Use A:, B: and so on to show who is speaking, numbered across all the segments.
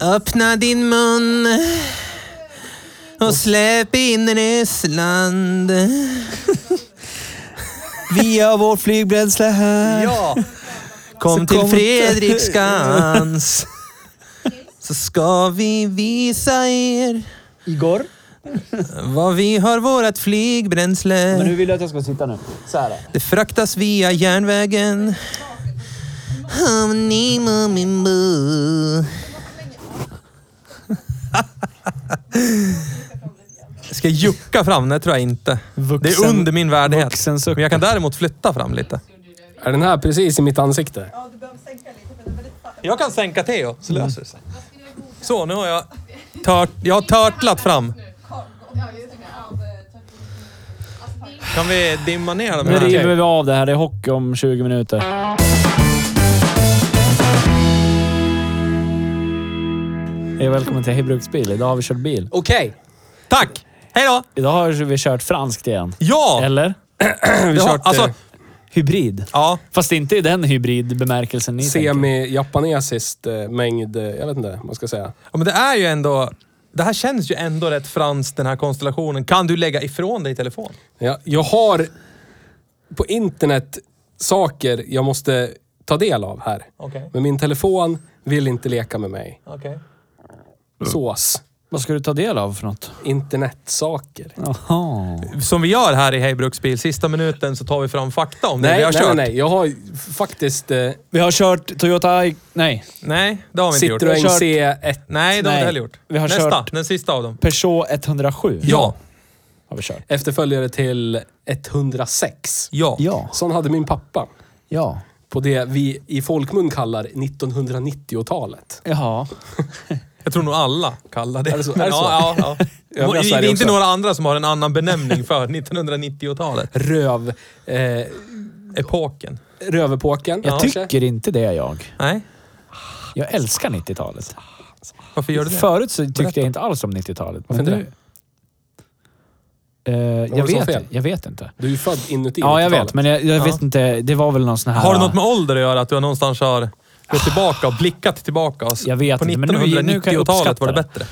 A: Öppna din mun och släpp in Ryssland. Vi har vårt flygbränsle här.
B: Ja!
A: Kom
B: Så
A: till
B: kom-
A: Fredrik Skans. Så ska vi visa er
C: Igor?
A: var vi har vårt
C: Men
A: flygbränsle.
C: hur vill du att jag ska sitta nu? Så här.
A: Det fraktas via järnvägen. Hamni, mumimbu. Ska jag jucka fram? Nej, tror jag inte. det är
D: Vuxen-
A: under min värdighet.
D: vuxensuck.
A: Men jag kan däremot flytta fram lite.
E: Är den här precis i mitt ansikte?
B: Jag kan sänka
A: Theo, så
C: Mm.
A: löser det sig. Så, nu har jag, tört, jag har törtlat fram. Kan vi dimma ner dem
C: Nu
A: här?
C: river vi av det här. Det är hockey om 20 minuter. Hej och välkommen till Hej Bruksbil. Idag har vi kört bil.
E: Okej.
A: Tack! Hej då!
C: Idag har vi kört franskt igen.
A: Ja!
C: Eller?
E: Vi
A: det
E: har
A: har-
E: kört
A: alltså-
E: eh,
C: Hybrid.
A: Ja,
C: Fast inte i den hybridbemärkelsen ni tänker.
E: semi-japanesiskt eh, mängd... eh, Jag vet inte vad man ska säga.
A: Ja, men det är ju ändå... Det här känns ju ändå rätt franskt, den här konstellationen. Kan du lägga ifrån dig telefon?
E: Jag, jag har på internet saker jag måste ta del av här.
A: Okej.
E: Men min telefon vill inte leka med mig.
A: Okej.
E: Sås.
C: Vad ska du ta del av för något?
E: Internetsaker.
C: Jaha.
A: Som vi gör här i Hej Bruksbil, sista minuten så tar vi fram fakta om det vi
E: Nej,
A: har
E: nej, nej,
A: kört.
E: nej. Jag har ju faktiskt eh,
C: Vi har kört Toyota... I- Nej.
A: nej, det har vi inte gjort.
E: Citroën
C: kört-
E: C1.
A: Nej, det har vi inte
C: Nej,
A: heller gjort.
C: vi har
A: Nästa,
C: kört-
A: den sista av dem.
C: Peugeot 107.
A: Ja.
C: Har vi kört.
E: Efterföljare till 106.
A: Ja.
C: Ja.
E: Sån hade min pappa.
C: Ja.
E: På det vi i folkmun kallar 1990-talet.
C: Jaha.
A: Jag tror nog alla kallar det.
E: Är det så? Är det så?
A: Ja, ja, ja.
E: Övriga
A: Det är
E: Sverige
A: inte
E: också.
A: några andra som har en annan benämning för 1990-talet.
E: Röv... Eh,
A: Epoken.
E: Rövepoken.
C: Jag tycker inte det jag.
A: Nej,
C: Jag älskar 90-talet.
A: varför gör du det?
C: Förut så tyckte
A: Berätta.
C: jag inte alls om 90-talet.
E: Varför inte
C: nu- Eh, jag,
E: det som var
C: vet,
E: fel?
C: jag vet inte.
E: Du är ju född inuti
C: Ja, jag
E: 90-talet.
C: vet. Men jag, jag vet inte. Det var väl någon sån här...
A: Har det något med ålder att göra? Att du någonstans har gått tillbaka och blickat tillbaka? Och s-
C: Jag vet
A: på
C: inte, men nu- nu kan jag
A: 1990-talet var det
C: uppskatta
A: bättre.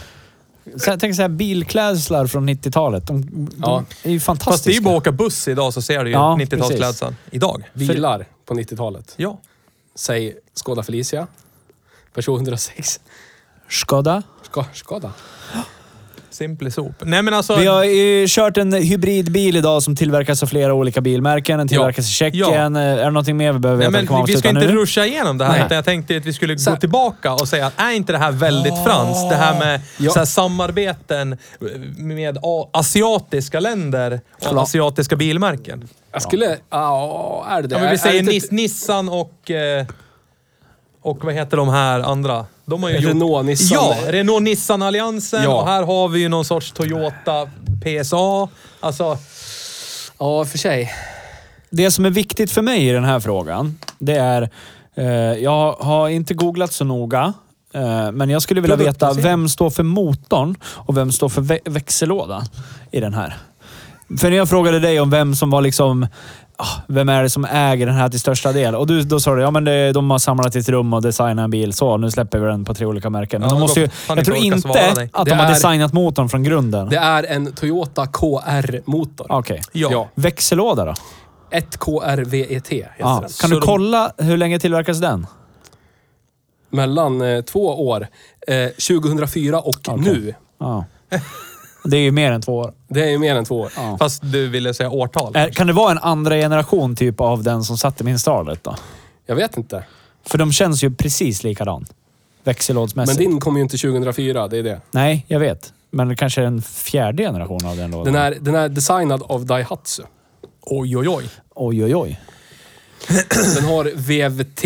C: Så jag tänker så här, bilklädslar från 90-talet. De,
E: Ja.
C: de
A: Fast det
C: är ju
A: är ju
C: fantastiska.
A: bara att åka buss idag så ser du ju
C: Ja,
A: 90-talsklädseln. Idag.
E: Bilar på 90-talet.
A: Ja.
E: Säg Skoda Felicia. Peugeot 106.
C: Skoda.
E: Ska, Skoda.
A: Simply sop. Nej men alltså...
C: Vi har ju kört en hybridbil idag som tillverkas av flera olika bilmärken. Den tillverkas i Tjeckien. Är det någonting mer vi behöver
A: Nej,
C: veta? Eller kan
A: men
C: man
A: vi ska
C: avsluta
A: inte
C: nu?
A: ruscha igenom det här,
C: Nej.
A: utan jag tänkte att vi skulle
E: Så-
A: gå tillbaka och säga att är inte det här väldigt franskt? Det här med
E: Ja.
A: så här, samarbeten med a- asiatiska länder och
E: Förlåt.
A: asiatiska bilmärken.
E: Jag skulle... Ja, är det det?
A: Ja, men
E: Är-
A: vi
E: är
A: säger
E: det
A: Nis-
E: inte-
A: Nissan och... Eh, och vad heter de här andra? De har ju gjort-
E: Renault, Nissan.
A: Ja, Renault-Nissan-alliansen.
E: Ja.
A: Och här har vi ju någon sorts Toyota PSA. Alltså,
E: Ja, för sig.
C: Det som är viktigt för mig i den här frågan, det är... Eh, jag har inte googlat så noga, eh, men jag skulle vilja veta
A: Produktplacering.
C: vem står för motorn och vem står för vä växellådan i den här. För när jag frågade dig om vem som var liksom... ah, Vem är det som äger den här till största del? Och du, då sa du ja men det, de har samlat i ett rum och designat en bil. Så, nu släpper vi den på tre olika märken. Men
A: Ja,
C: de
A: men
C: måste
A: då
C: ju,
A: fan
C: jag
A: inte
C: tror
A: orka
C: inte
A: svara dig.
C: att
E: Det
C: de har
E: är-
C: designat motorn från grunden.
E: Det är en Toyota KR-motor.
C: Okej.
A: ja.
E: Ja.
C: Växellåda då?
E: 1KRVET E heter
C: Ja.
E: den.
C: Kan
A: Så
C: du
A: de-
C: kolla hur länge tillverkas den?
E: Mellan eh, två år. Eh, 2004 och nu.
C: Ja. Det är ju mer än två år.
E: Det är ju mer än två år.
C: Ja.
A: Fast du ville säga årtal.
C: Är, kan det vara en andra generation typ av den som satte min Starlet då?
E: Jag vet inte.
C: För de känns ju precis likadan.
E: Men
C: Växellådsmässigt.
E: din kom ju inte 2004, det är det.
C: Nej, jag vet. Men det kanske är en fjärde generation av den lådan.
E: Den är, den är designad av Daihatsu.
A: Oj, oj, oj.
C: Oj, oj, oj.
E: Den har VVT.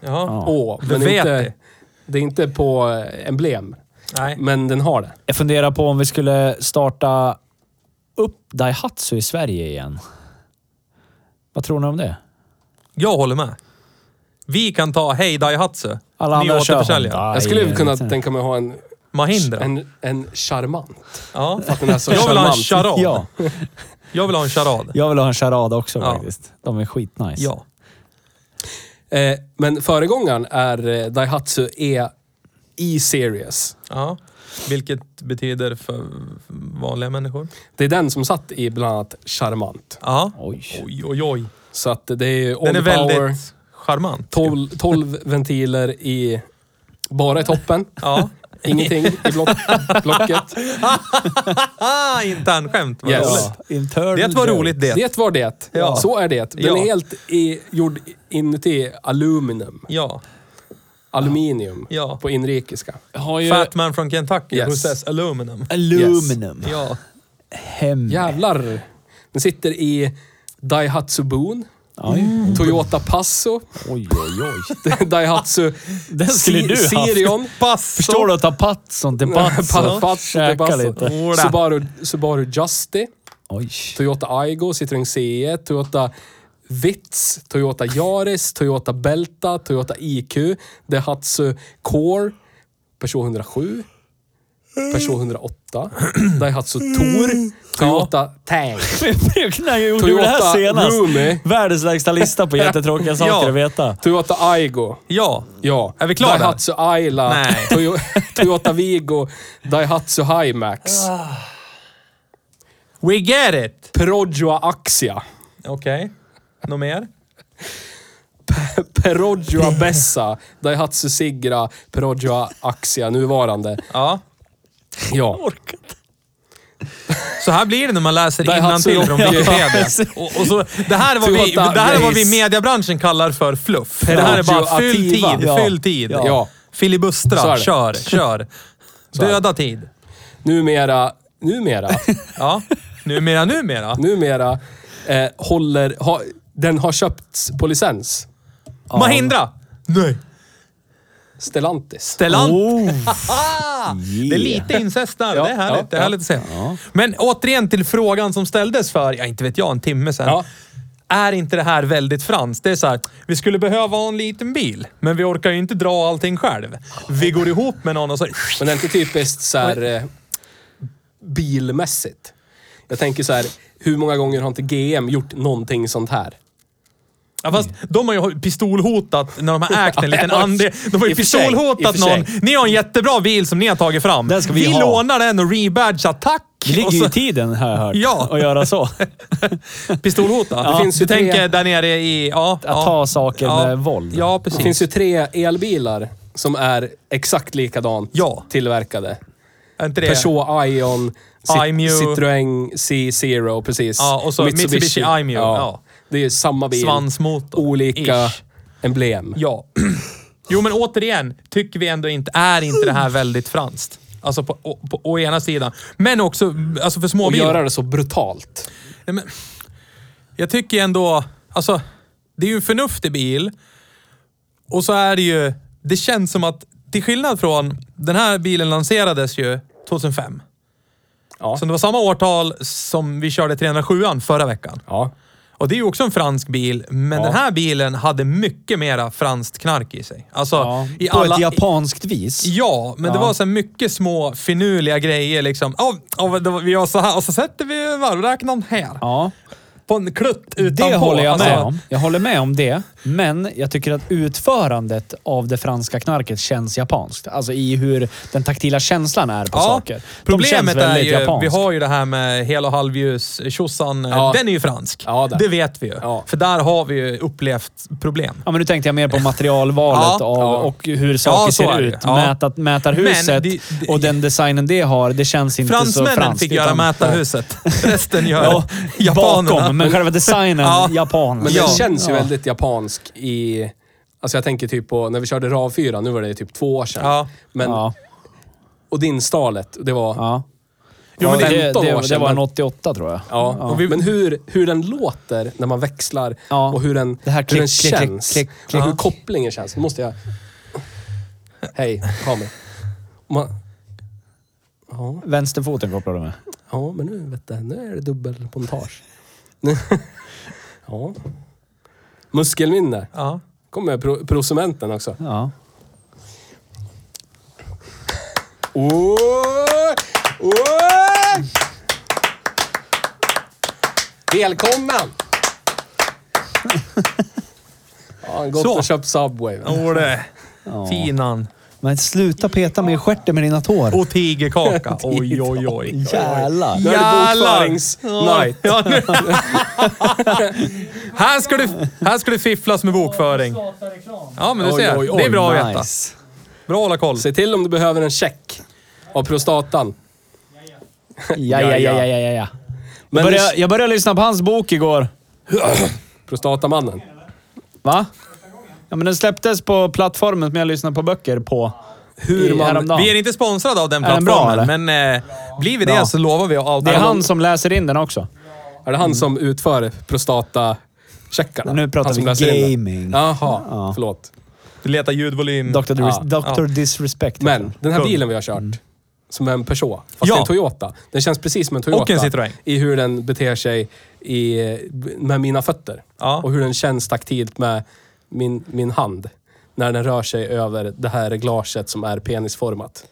A: Ja.
E: Å,
A: Du
E: men det är
A: vet
E: inte,
A: det.
E: det är inte på eh, emblem.
A: Nej.
E: Men den har det.
C: Jag funderar på om vi skulle starta upp Daihatsu i Sverige igen. Vad tror ni om det?
A: Jag håller med. Vi kan ta Hej Daihatsu. Ni
C: Alla andra kör liksom.
A: återförsäljare.
C: Honda
E: Jag skulle
C: i-
E: kunna tänka mig att ha en,
A: Mahindra.
E: en, en charmant.
A: Ja.
E: Att den är så
A: Jag vill ha en
E: charmant.
A: charad.
C: Ja,
A: Jag vill ha en charad.
C: jag vill ha en charad också
A: Ja.
C: faktiskt. De är skitnice.
A: Ja.
E: Eh, men föregångaren är eh, Daihatsu E E-series.
A: ja. Vilket betyder för vanliga människor.
E: Det är den som satt i bland annat Charmant.
A: Ja.
C: Oj.
A: Oj, oj, oj.
E: Så att det är ju all
A: Den är
E: the power,
A: väldigt charmant.
E: 12, 12 ventiler i... Bara i toppen.
A: Ja.
E: Ingenting i block, blocket.
A: Ah, internskämt. Vad
E: Yes.
A: roligt.
C: Ja. Internal
A: Det var
C: joke.
A: roligt det.
E: Det var det.
A: Ja.
E: Så är det. Den
A: Ja.
E: är helt i, gjord inuti aluminium.
A: Ja.
E: Aluminium.
A: Ja.
E: På inrikiska.
C: Jag har ju
A: Fatman från Kentucky,
E: Yes.
A: who says aluminum.
C: aluminum.
A: Ja.
C: Hem.
E: Jävlar. Den sitter i Daihatsu Boon.
C: Oj,
E: Toyota Passo.
C: oj, oj. oj.
E: Daihatsu
C: Den skulle
E: Si-
C: du haft.
E: Sirion.
A: Pass!
C: Förstår du att ta Patson till Patson?
E: Patso till
C: Käka
E: Patso.
C: lite.
A: Ola.
E: Subaru, Subaru Justy.
C: Oj.
E: Toyota Aygo, Citroën CE, E, Toyota Vitz, Toyota Yaris, Toyota Belta, Toyota IQ, Daihatsu Core, Peugeot 107, Peugeot 108, Daihatsu Tor, Toyota Tang,
C: När jag gjorde det här
E: Toyota
C: senast.
E: Roomy,
C: Världens lägsta lista på jättetråkiga saker att veta.
E: Toyota Aygo.
A: Ja.
E: Ja.
A: Är vi klara där?
E: Daihatsu Ayla,
A: Nej.
E: Toyo- Toyota Vigo, Daihatsu Himax,
A: Ah. We get it!
E: Perodjoa Axia,
A: Okej. Något mer?
E: Perodjoa Bessa, Daihatsu Sigra, Perodjoa Axia, nuvarande.
A: Ja.
E: Ja.
A: Så här blir det när man läser
E: Daihatsu
A: innantill från
E: Rocky.
A: Wikipedia.
E: Ja.
A: Och, och så, det här är vad vi,
E: Toyota
A: det här är vad vi i
E: Race.
A: mediebranschen kallar för fluff. Det här är bara fyll
E: Aktiva.
A: tid,
C: Ja.
A: fyll tid.
E: Ja. Ja. Så är
A: Filibustra,
E: det.
A: kör, kör.
E: är det.
A: Döda tid.
E: Numera, numera,
A: Ja. Numera, numera.
E: numera eh, håller... Ha, den har köpts på licens.
A: Mahindra! Nej.
E: Stellantis.
A: Stellantis.
C: Oh,
A: Det är lite incest där.
E: Ja,
A: det är härligt.
E: ja,
A: det är härligt att se. Men återigen till frågan som ställdes för, ja, inte vet jag, en timme sedan.
E: Ja.
A: Är inte det här väldigt franskt? Det är så här, vi skulle behöva ha en liten bil, men vi orkar ju inte dra allting själv. Vi går ihop med någon och så...
E: Men det är inte typiskt så här, eh, bilmässigt. Jag tänker så här, hur många gånger har inte GM gjort någonting sånt här?
A: Ja, fast de har ju pistolhotat när de har ägt en liten
E: Ja, i-
A: andel. De har
E: i
A: ju
E: och för sig, i och
A: pistolhotat
E: för sig.
A: någon. Ni har en jättebra bil som ni har tagit fram.
C: Den ska vi ha.
A: lånar den och rebadgar. Tack!
C: det ligger
A: Och
C: ju
A: så-
C: i tiden har jag hört.
A: Ja.
C: Att göra så.
A: Pistolhota?
E: Det finns ju
A: du
E: tre-
A: tänker där nere i... Ja, att ja.
C: ta saker
A: ja.
C: med våld.
A: Ja, precis.
E: Det finns ju tre elbilar som är exakt likadant
A: Ja.
E: tillverkade.
A: Är inte det?
E: Peugeot Ion, Cit-
A: Imeu.
E: Citroën C0, precis.
A: Ja, och så Mitsubishi Imeu, ja.
E: Det är ju samma bil.
A: Svansmotor.
E: olika
A: Ish.
E: emblem.
A: Ja. Jo, men återigen, tycker vi ändå inte, är inte det här väldigt franskt? Alltså på, å, på, å ena sidan. Men också, alltså för
E: Och
A: småbilar.
E: göra det så brutalt.
A: Nej, men, jag tycker ändå, alltså, det är ju en förnuftig bil. Och så är det ju, det känns som att, till skillnad från, den här bilen lanserades ju 2005.
E: Ja.
A: Så det var samma årtal som vi körde 307an förra veckan.
E: ja.
A: Och det är ju också en fransk bil, men
E: Ja.
A: den här bilen hade mycket mera franskt knark i sig. Alltså,
C: Ja.
A: i
C: På
A: alla...
C: ett japanskt vis.
A: Ja, men det
C: Ja.
A: var så här mycket små finurliga grejer liksom. Ja, ja, det var- vi gör så här och så sätter vi varvräknaren här.
C: Ja.
A: på en klutt utanpå.
C: Det håller jag med
A: Alltså,
C: om. Jag håller med om det. Men jag tycker att utförandet av det franska knarket känns japanskt. Alltså i hur den taktila känslan är på
A: Ja,
C: saker. De känns
A: Problemet är
C: väldigt
A: ju, vi
C: japanskt.
A: har ju det här med hel och halvljus tjosan.
E: Ja.
A: Den är ju fransk.
E: Ja, där.
A: det vet vi ju.
E: Ja.
A: För där har vi ju upplevt problem.
C: Ja, men nu tänkte jag mer på materialvalet
A: Ja,
C: av,
E: ja.
C: och hur saker
A: så är
C: ser
A: det.
C: ut.
A: Ja.
C: Mätat, mätarhuset
A: det- det-
C: och den designen det har, det känns inte så franskt.
A: Fransmännen fick göra
C: utan-
A: mätarhuset. Resten gör
C: Ja,
A: japanerna.
C: bakom, men själva designen,
A: Ja.
C: japan.
E: Men
A: Ja.
E: det känns ju
C: Ja.
E: väldigt japansk i... Alltså jag tänker typ på när vi körde RAV4, nu var det typ två år sedan.
A: Ja.
E: Men,
C: Ja,
E: Och dinstalet, det var... Ja.
C: ja.
E: Jo, men
C: Ja, det,
E: 15 år
C: det, det
E: sedan,
C: var en
E: men-
C: 88 tror jag.
E: Och vi, men hur, hur den låter när man växlar
C: Ja.
E: och hur den,
C: Det här
E: hur den
C: klick, klick,
E: känns.
C: klick, klick,
E: Hur
C: klick.
E: kopplingen känns. Nu måste jag... Hej, Kamil. Man... Ja,
C: Vänsterfoten kopplar du med.
E: ja, men nu vet du, nu är det dubbelpontage. ja. Muskelminne.
A: Ja.
E: Kommer pro- prosumenten också.
C: Ja.
E: Åh! Åh! Välkommen! Ja, gott
A: Så.
E: att köpa Subway. va?
A: Åh det. Finan.
C: Men sluta peta mig i stjärten med dina tår.
A: Och tigerkaka. Oj, oj, oj.
C: Jävlar.
E: Nu är det
A: Jävlar.
E: bokföringsnight.
A: Ja, nu. här, ska du, här ska du fifflas med bokföring. Ja, men du
E: Oj,
A: ser.
E: oj, oj,
A: det är bra att veta.
C: Nice.
A: Bra att hålla koll.
E: Se till om du behöver en check av prostatan.
C: Ja, ja, ja, ja, ja, ja, ja. Jag
E: Men
C: började, jag började lyssna på hans bok igår.
E: Prostatamannen.
C: Va? Ja, men den släpptes på plattformen som jag lyssnar på böcker på.
E: Hur
C: I-
E: man...
C: häromdagen.
A: Vi är inte sponsrade av den
C: Är den bra,
A: plattformen, men
C: eller?
A: eh, blir vi det
C: Bra.
A: så lovar vi att outa
C: Det är
A: dem.
C: han som läser in den också.
E: Är det han som utför prostatacheckarna?
C: Mm. Nu pratar
E: Han som
C: vi
E: läser in det.
C: gaming.
E: Jaha,
C: Ja.
E: förlåt.
A: Du letar ljudvolym.
C: Dr. Dis-
E: Ja,
C: Dr. Disrespect.
E: Men den här
A: Typ. Kung. Mm.
E: bilen vi har kört, som är en Peugeot, fast
A: Ja.
E: det är en Toyota. Den känns precis som en Toyota.
A: Och en Citroën.
E: I hur den beter sig i, med mina fötter.
A: Ja.
E: Och hur den känns taktilt med min, min hand. När den rör sig över det här reglaget som är penisformat.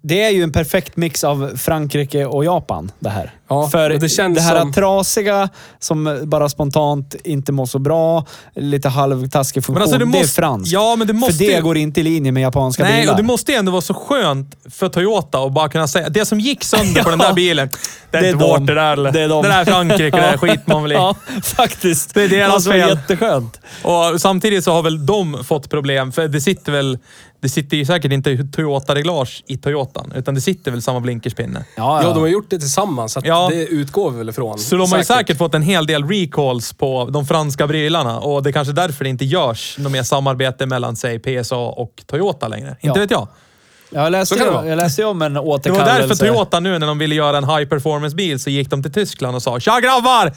C: Det är ju en perfekt mix av Frankrike och Japan, det här.
E: Ja,
C: För
E: och
C: det,
E: det känns
C: här
E: som-
C: trasiga som bara spontant inte mår så bra, lite halvtaskig funktion,
A: Men alltså, det
C: det är
A: måste-
C: franskt.
A: ja, men det måste
C: För det
A: ju-
C: går inte i linje med japanska
A: Nej,
C: bilar.
A: och det måste ju ändå vara så skönt för Toyota att bara kunna säga det som gick sönder på den där bilen. Det är,
C: det är
A: inte vårt
C: dem.
A: det där. eller?
C: Det är dem.
A: där är Frankrike, det där skit man väl i.
C: Ja, faktiskt.
A: Det är deras
C: alltså,
A: fel.
C: Jätteskönt.
A: Och samtidigt så har väl de fått problem, för det sitter väl... Det sitter ju säkert inte Toyota-reglage i Toyotan, utan det sitter väl samma blinkerspinne.
E: Ja, de har gjort det tillsammans, så att
A: Ja.
E: det utgår vi väl ifrån.
A: Så de har ju säkert fått en hel del recalls på de franska bilarna och det är kanske därför det inte görs något mer samarbete mellan, säg, PSA och Toyota längre. Inte
C: Ja.
A: vet jag.
C: Jag läste,
E: Så kan det
C: ju,
E: vara.
C: jag läste ju om en
A: Det var
C: återkallelse.
A: därför Toyota nu när de ville göra en high performance-bil så gick de till Tyskland och sa “Tja grabbar!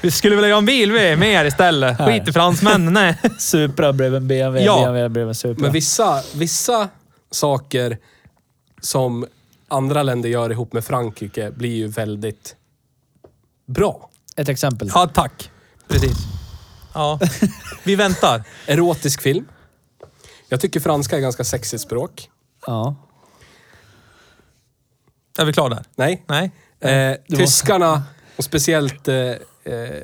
A: Vi skulle vilja göra en bil vi med er istället. Skit i fransmännen, nej.
C: Supra blev en BMW,
A: Ja.
C: BMW blev en Supra.
E: Men vissa, vissa saker som andra länder gör ihop med Frankrike blir ju väldigt bra.
C: Ett exempel.
A: Ja, tack. Precis. Ja, vi väntar.
E: Erotisk film. Jag tycker franska är ganska sexigt språk.
C: Ja.
A: Är vi klara där?
E: Nej.
A: Nej?
E: Eh, tyskarna, och speciellt eh, eh,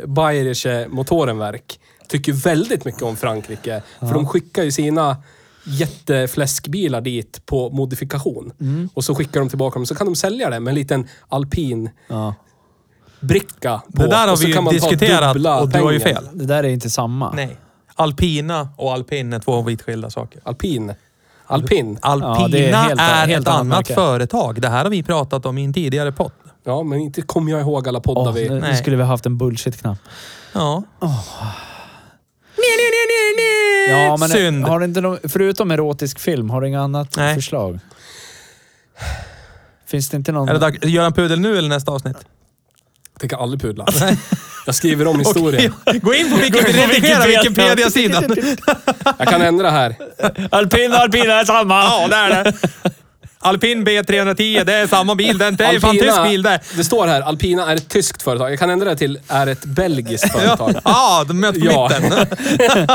E: Bayerische Motorenwerk, tycker väldigt mycket om Frankrike. För de skickar ju sina jättefläskbilar dit på modifikation.
A: Mm.
E: Och så skickar de tillbaka dem, så kan de sälja det med en liten alpin
C: ja.
E: bricka på.
A: Det där har
E: Och så
A: vi ju
E: kan man ta
A: diskuterat
E: dubbla
A: och du har ju
E: pengar.
A: fel.
C: Det där är inte samma.
A: Nej. Alpina och alpin är två vitt skilda saker.
E: Alpin. Alpin.
C: Ja,
A: Alpina
C: det är
A: är,
C: helt-
A: ett
C: helt annat
A: annat
C: märke.
A: företag. Det här har vi pratat om i en tidigare podd.
E: Ja, men inte kommer jag ihåg alla poddar
C: Åh,
E: vi...
C: nu, nu
A: Nej.
C: skulle vi ha haft en bullshit-knapp.
A: Ja. Nej, nej, nej, nej, nej.
C: Ja, men
A: Synd.
C: Har du inte någon, förutom erotisk film, har du inget annat
A: Nej.
C: förslag? Finns det inte någon...
A: Är det dags? Gör en pudel nu eller nästa avsnitt?
E: Jag tänker aldrig pudla. Jag skriver om historien.
A: Gå in på Wikipedia, redigera Wikipedia-sidan.
E: Jag kan ändra här.
C: Alpina, alpina är samma!
A: Ja, det är det. Alpin B310, det är samma bil. den. Det är fan tysk bil det.
E: det står här, Alpina är ett tyskt företag. Jag kan ändra det till, är ett belgiskt företag.
A: Ja, ah, de möts på
E: Ja.
A: mitten.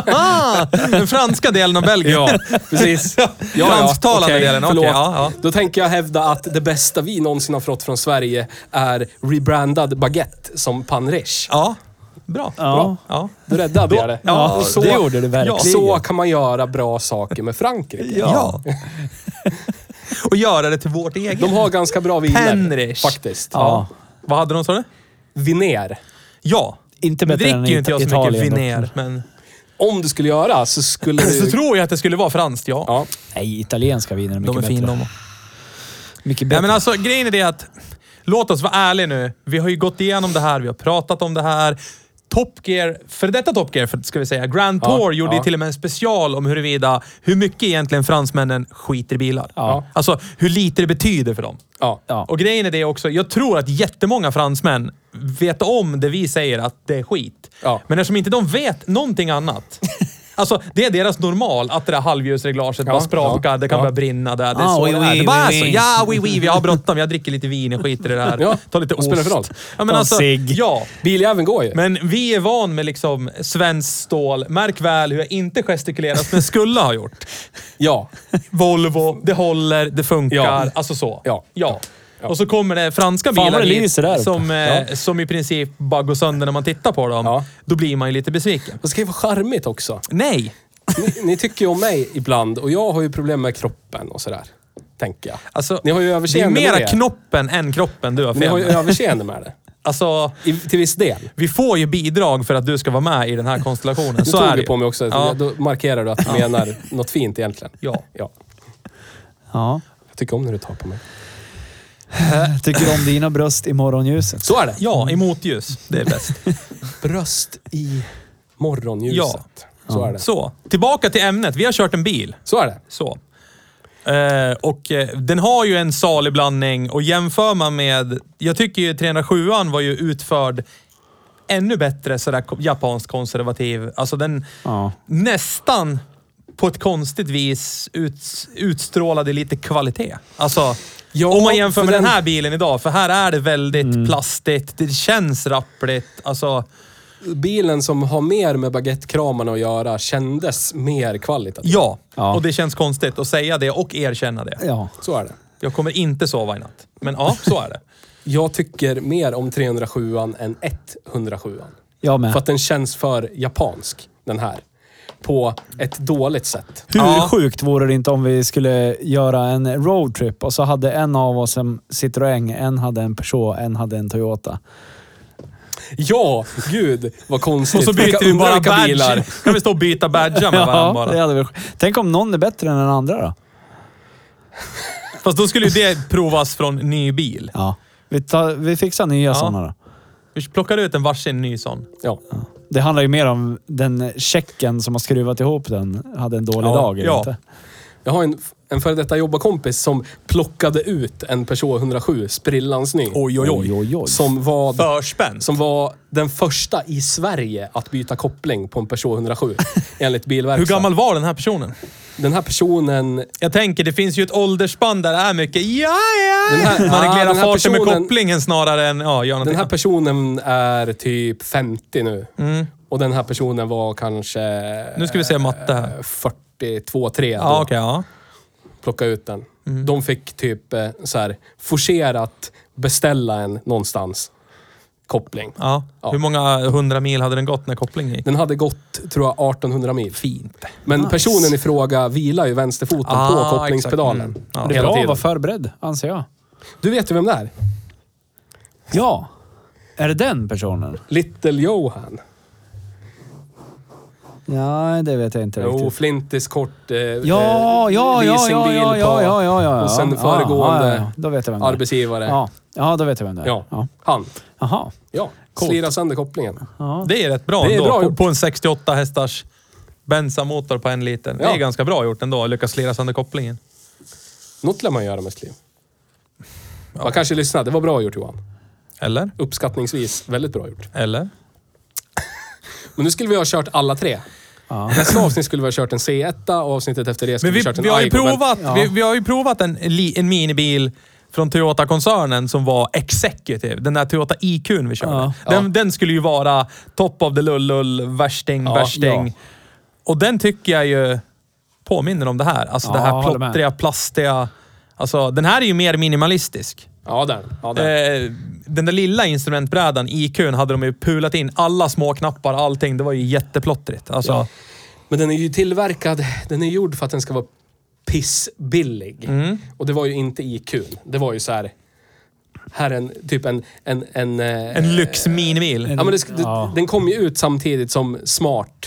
A: Ah, Den franska delen av Belgien.
E: Ja, precis. Ja, ja,
A: Fransktalande
E: okej,
A: delen, okej,
E: förlåt.
A: ja, ja.
E: Då tänker jag hävda att det bästa vi någonsin har fått från Sverige är rebrandad baguette som panrish.
A: Ja, bra.
C: Ja.
A: Ja.
E: Då räddade jag det.
A: Ja,
E: Och
C: det gjorde du verkligen.
E: Så kan man göra bra saker med Frankrike.
A: Ja. Och göra det till vårt eget.
E: De har ganska bra viner
A: Panrish.
E: faktiskt.
C: Ja.
A: Vad hade de, sa du?
E: Viner.
A: Ja.
C: Inte
A: Nu
C: bättre
A: dricker
C: än
A: ju inte jag så
C: Italien
A: mycket
C: dock.
A: viner, men...
E: Om du skulle göra så skulle
A: Så
E: du...
A: tror jag att det skulle vara franskt, ja.
E: Ja.
C: Nej, italienska viner är mycket
A: de är
C: bättre.
A: fina de.
C: Mycket
A: Nej
C: bättre.
A: men alltså grejen är det att, låt oss vara ärliga nu. Vi har ju gått igenom det här, vi har pratat om det här. Top Gear, för detta Top Gear för- ska vi säga, Grand
E: Ja,
A: Tour gjorde ju
E: ja.
A: till och med en special om huruvida, hur mycket egentligen fransmännen skiter i bilar.
C: Ja.
A: Alltså hur lite det betyder för dem.
E: Ja.
C: Ja.
A: Och grejen är det också, jag tror att jättemånga fransmän vet om det vi säger att det är skit.
E: Ja.
A: Men eftersom inte de vet någonting annat. Alltså, det är deras normal att det där halvljusreglaget
E: Ja,
A: bara sprakar,
E: ja,
A: det kan
E: ja.
A: börja brinna där. Det är
C: Ah,
A: så
C: oui,
A: det är.
C: oui,
A: det bara
C: oui,
A: är
C: oui.
A: så. Ja, oui, oui, vi har bråttom. Jag dricker lite vin, jag skiter i det här.
E: Ja,
A: Ta lite
E: vad
A: ost.
E: spelar det för roll?
A: Ja, men
C: Ta en
A: alltså,
C: cigg.
A: ja.
E: Biljäveln går ju.
A: Men vi är van med liksom svenskt stål. Märk väl hur jag inte gestikulerar som jag skulle ha gjort.
E: Ja.
A: Volvo, det håller, det funkar.
E: Ja.
A: Alltså så.
E: Ja.
A: ja. Och så kommer det franska
C: Fan,
A: bilar
C: vad det lyser där uppe.
A: som, eh,
E: Ja.
A: som i princip bara går sönder när man tittar på dem.
E: Ja.
A: Då blir man ju lite besviken.
E: Det ska ju vara charmigt också.
A: Nej!
E: Ni, ni tycker ju om mig ibland och jag har ju problem med kroppen och sådär. Tänker jag.
A: Alltså,
E: ni har ju
A: det är
E: överseende
A: mera
E: med det.
A: knoppen än kroppen du har
E: Ni har ju
A: fel med.
E: överseende med det.
A: Alltså,
E: I, till viss del.
A: vi får ju bidrag för att du ska vara med i den här konstellationen.
E: Nu
A: Så
E: tog
A: är
E: du
A: det
E: på
A: ju.
E: mig också.
A: Ja.
E: Då markerar du att du menar något fint egentligen.
A: Ja.
E: ja.
C: Ja.
E: Jag tycker om när du tar på mig.
C: Tycker om dina bröst i morgonljuset.
E: Så är det.
A: Ja, i motljus. Det är bäst.
E: Bröst i morgonljuset. Så är det.
A: Så, tillbaka till ämnet. Vi har kört en bil.
E: Så är det.
A: Så. Eh, och eh, den har ju en salig blandning och jämför man med... Jag tycker ju 307an var ju utförd ännu bättre sådär ko- japansk konservativ. Alltså den
C: Ja.
A: nästan på ett konstigt vis ut, utstrålade lite kvalitet. Alltså,
E: Ja,
A: om man jämför
E: för
A: med den
E: den-
A: här bilen idag, för här är det väldigt plastigt, det känns rappligt. Alltså,
E: Bilen som har mer med baguettekramarna att göra kändes mer kvalitativ.
A: ja.
C: Ja.
A: Och det känns konstigt att säga det och erkänna det.
C: Ja.
E: Så är det.
A: Jag kommer inte sova i natt. Men ja, så är det.
E: Jag tycker mer om 307an än 107an.
C: Jag med.
E: För att den känns för japansk, den här. På ett dåligt sätt.
C: Hur
A: Ja.
C: sjukt vore det inte om vi skulle göra en roadtrip och så hade en av oss en Citroën, en hade en Peugeot, en hade en Toyota.
E: Ja, gud vad konstigt.
A: Och så byter
E: Vilka
A: vi bara
E: underliga
A: badge. Kan vi stå och byta badgar med varandra
C: Ja, det
A: bara?
C: hade väl... Tänk om någon är bättre än den andra då?
A: Fast då skulle ju det provas från ny bil.
C: Ja. Vi, tar, vi fixar nya sådana då.
A: Vi plockar ut en varsin ny sån.
E: Ja.
C: Det handlar ju mer om den checken som har skruvat ihop den hade en dålig
E: Ja,
C: dag. eller
A: ja.
C: Inte?
E: Jag har en, en före detta jobbarkompis som plockade ut en Peugeot 107, sprillans ny.
A: Oj, oj, oj.
C: oj, oj.
E: Som var...
A: Förspänt.
E: som var den första i Sverige att byta koppling på en Peugeot 107, enligt
A: Hur
E: bilverkstaden.
A: gammal var den här personen?
E: Den här personen...
A: Jag tänker, det finns ju ett åldersspann där det är mycket ja,
E: Den
A: ja.
E: här-
A: Man
E: Ah,
A: reglerar
E: den här
A: farten med
E: personen-
A: kopplingen snarare än ja, gör
E: Den
A: någonting.
E: här personen är typ 50 nu. Och den här personen var kanske...
A: Mm. Nu ska vi se matte här.
E: 42, 3 Äh, då.
C: Ah,
A: Ja, okej. ja.
E: Plocka ut den.
C: Mm.
E: De fick typ eh, så här, forcerat beställa en någonstans. Koppling.
C: Ah.
A: Ja.
E: Ja.
A: Hur många hundra mil hade den gått när kopplingen gick?
E: Den hade gått, tror jag, 1800 mil.
A: Fint.
E: Men
C: Nice.
E: personen i fråga vilar ju vänsterfoten
A: Ah,
E: på kopplingspedalen.
A: exakt. Mm. Ja.
C: det är
E: hela
C: bra att
E: tiden.
C: vara förberedd, anser jag.
E: Du vet ju vem det är?
C: Ja. Är det den personen?
E: Little Johan.
C: Nej, det vet jag inte
E: Jo,
C: riktigt.
E: flintis kort eh,
C: Ja,
E: eh,
C: ja, ja, ja,
E: leasingbil
C: ja, ja,
E: på-
C: ja, ja, ja.
E: Och sen
C: ja,
E: föregående
C: ja, ja, ja. Då vet jag vem det är.
E: arbetsgivare.
C: Ja. ja, då vet jag vem det är.
E: Ja. Han.
C: Jaha.
E: Ja.
C: Coolt.
E: Slira sönder kopplingen.
C: Ja.
A: Det är rätt bra
E: Det är
A: ändå.
E: bra
A: på,
E: gjort.
A: på en 68 hästars bensamotor på en liter. Det
E: Ja.
A: är ganska bra gjort ändå. Lyckas slira sönder kopplingen.
E: Något lär man göra med sitt liv. Man kanske lyssnar. Det var bra gjort Johan.
A: Eller?
E: Uppskattningsvis väldigt bra gjort.
A: Eller?
E: Men nu skulle vi ha kört alla tre.
C: Ja.
E: Nästa avsnitt skulle vi ha kört en C1 och avsnittet efter det skulle
A: Men vi,
E: vi ha kört en
A: vi, har ju
E: Aigo, men-
A: provat,
C: Ja.
A: vi, vi har ju provat en, li- en minibil från Toyota-koncernen som var Executive. Den där Toyota IQ'n vi körde.
C: Ja.
A: Den, den skulle ju vara top of the lullull, värsting,
E: Ja,
A: värsting.
E: ja.
A: Och den tycker jag ju påminner om det här. Alltså det
C: Ja,
A: här
C: håller med.
A: plottriga, plastiga. Alltså, den här är ju mer minimalistisk.
E: Ja, där. Ja, där.
A: Eh, den där lilla instrumentbrädan, IQ'n, hade de ju pulat in alla små knappar, allting. Det var ju jätteplottrigt. Alltså,
E: Ja. Men den är ju tillverkad, den är gjord för att den ska vara pissbillig.
A: Mm.
E: Och det var ju inte IQ. Det var ju så här, här är en, typ en... En, en, eh,
A: En lyxminibil.
E: Ja, men det, sk- det,
C: Ja.
E: den kom ju ut samtidigt som Smart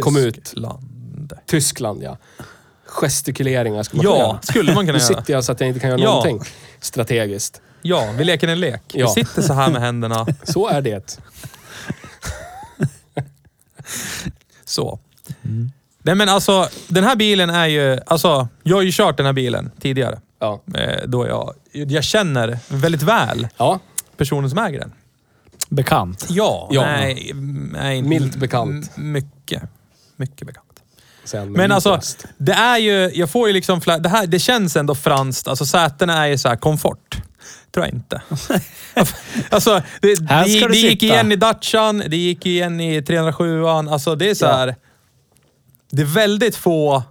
E: kom ut.
A: Tyskland.
E: Tyskland, ja. Gestikuleringar skulle man kunna
A: Ja,
E: göra.
A: skulle man kunna
E: Nu
A: göra.
E: sitter jag så att jag inte kan göra
A: Ja.
E: någonting strategiskt.
A: Ja, vi leker en lek.
E: Ja.
A: Vi sitter så här med händerna.
E: Så är det.
A: Så.
E: Mm.
A: Nej men alltså, den här bilen är ju... Alltså, jag har ju kört den här bilen tidigare.
E: Ja.
A: Eh, Då jag, jag känner väldigt väl
E: ja.
A: personen som äger den.
C: Bekant.
A: Ja,
E: Ja.
A: Nej, nej, inte-
E: Milt bekant.
A: m- Mycket. Mycket bekant.
E: Sen,
A: Men alltså,
E: minst.
A: det är ju... Jag får ju liksom... fla- Det, här, det känns ändå franskt. Alltså sätena är ju så här komfort. Tror jag inte. alltså, det,
C: Här
A: det,
C: ska
A: det
C: du
A: gick
C: sitta.
A: igen i Dacian, det gick igen i 307an. Alltså det är så här... Det är väldigt få...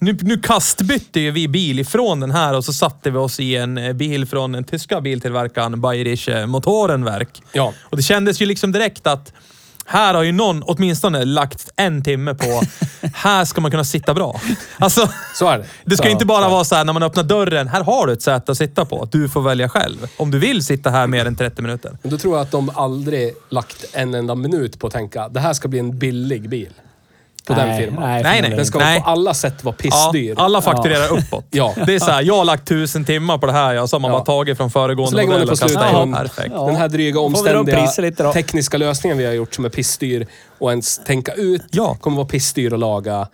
A: Nu, nu kastbytte ju vi bil ifrån den här och så satte vi oss i en eh, bil från den tyska biltillverkaren Bayerische Motorenwerk.
E: Ja.
A: Och det kändes ju liksom direkt att här har ju någon åtminstone lagt en timme på, här ska man kunna sitta bra. Alltså,
E: Så är det.
A: det ska
E: så,
A: inte bara vara så här när man öppnar dörren, här har du ett säte att sitta på. Du får välja själv. Om du vill sitta här mer än 30 minuter.
E: Men då tror jag att de aldrig lagt en enda minut på att tänka det här ska bli en billig bil. På den
C: Nej,
E: firman.
A: Nej,
C: nej, förmodligen
A: nej.
E: Den ska
A: Nej.
E: på alla sätt vara
A: Ja,
E: pissdyr.
A: alla fakturerar uppåt.
E: Ja.
A: Det är så här, jag har lagt tusen timmar på det här, ja, så har man
E: Ja.
A: bara tagit från föregående
E: Så lägger man det
A: modell och
E: på
A: kastat
E: slutet.
A: ihop.
E: Ja.
A: Perfekt.
C: Ja.
E: Den här dryga,
C: Får vi dra upp
E: omständiga
C: priset lite då?
E: tekniska lösningen vi har gjort som är pissdyr och ens tänka ut
A: Ja.
E: kommer vara pissdyr att laga.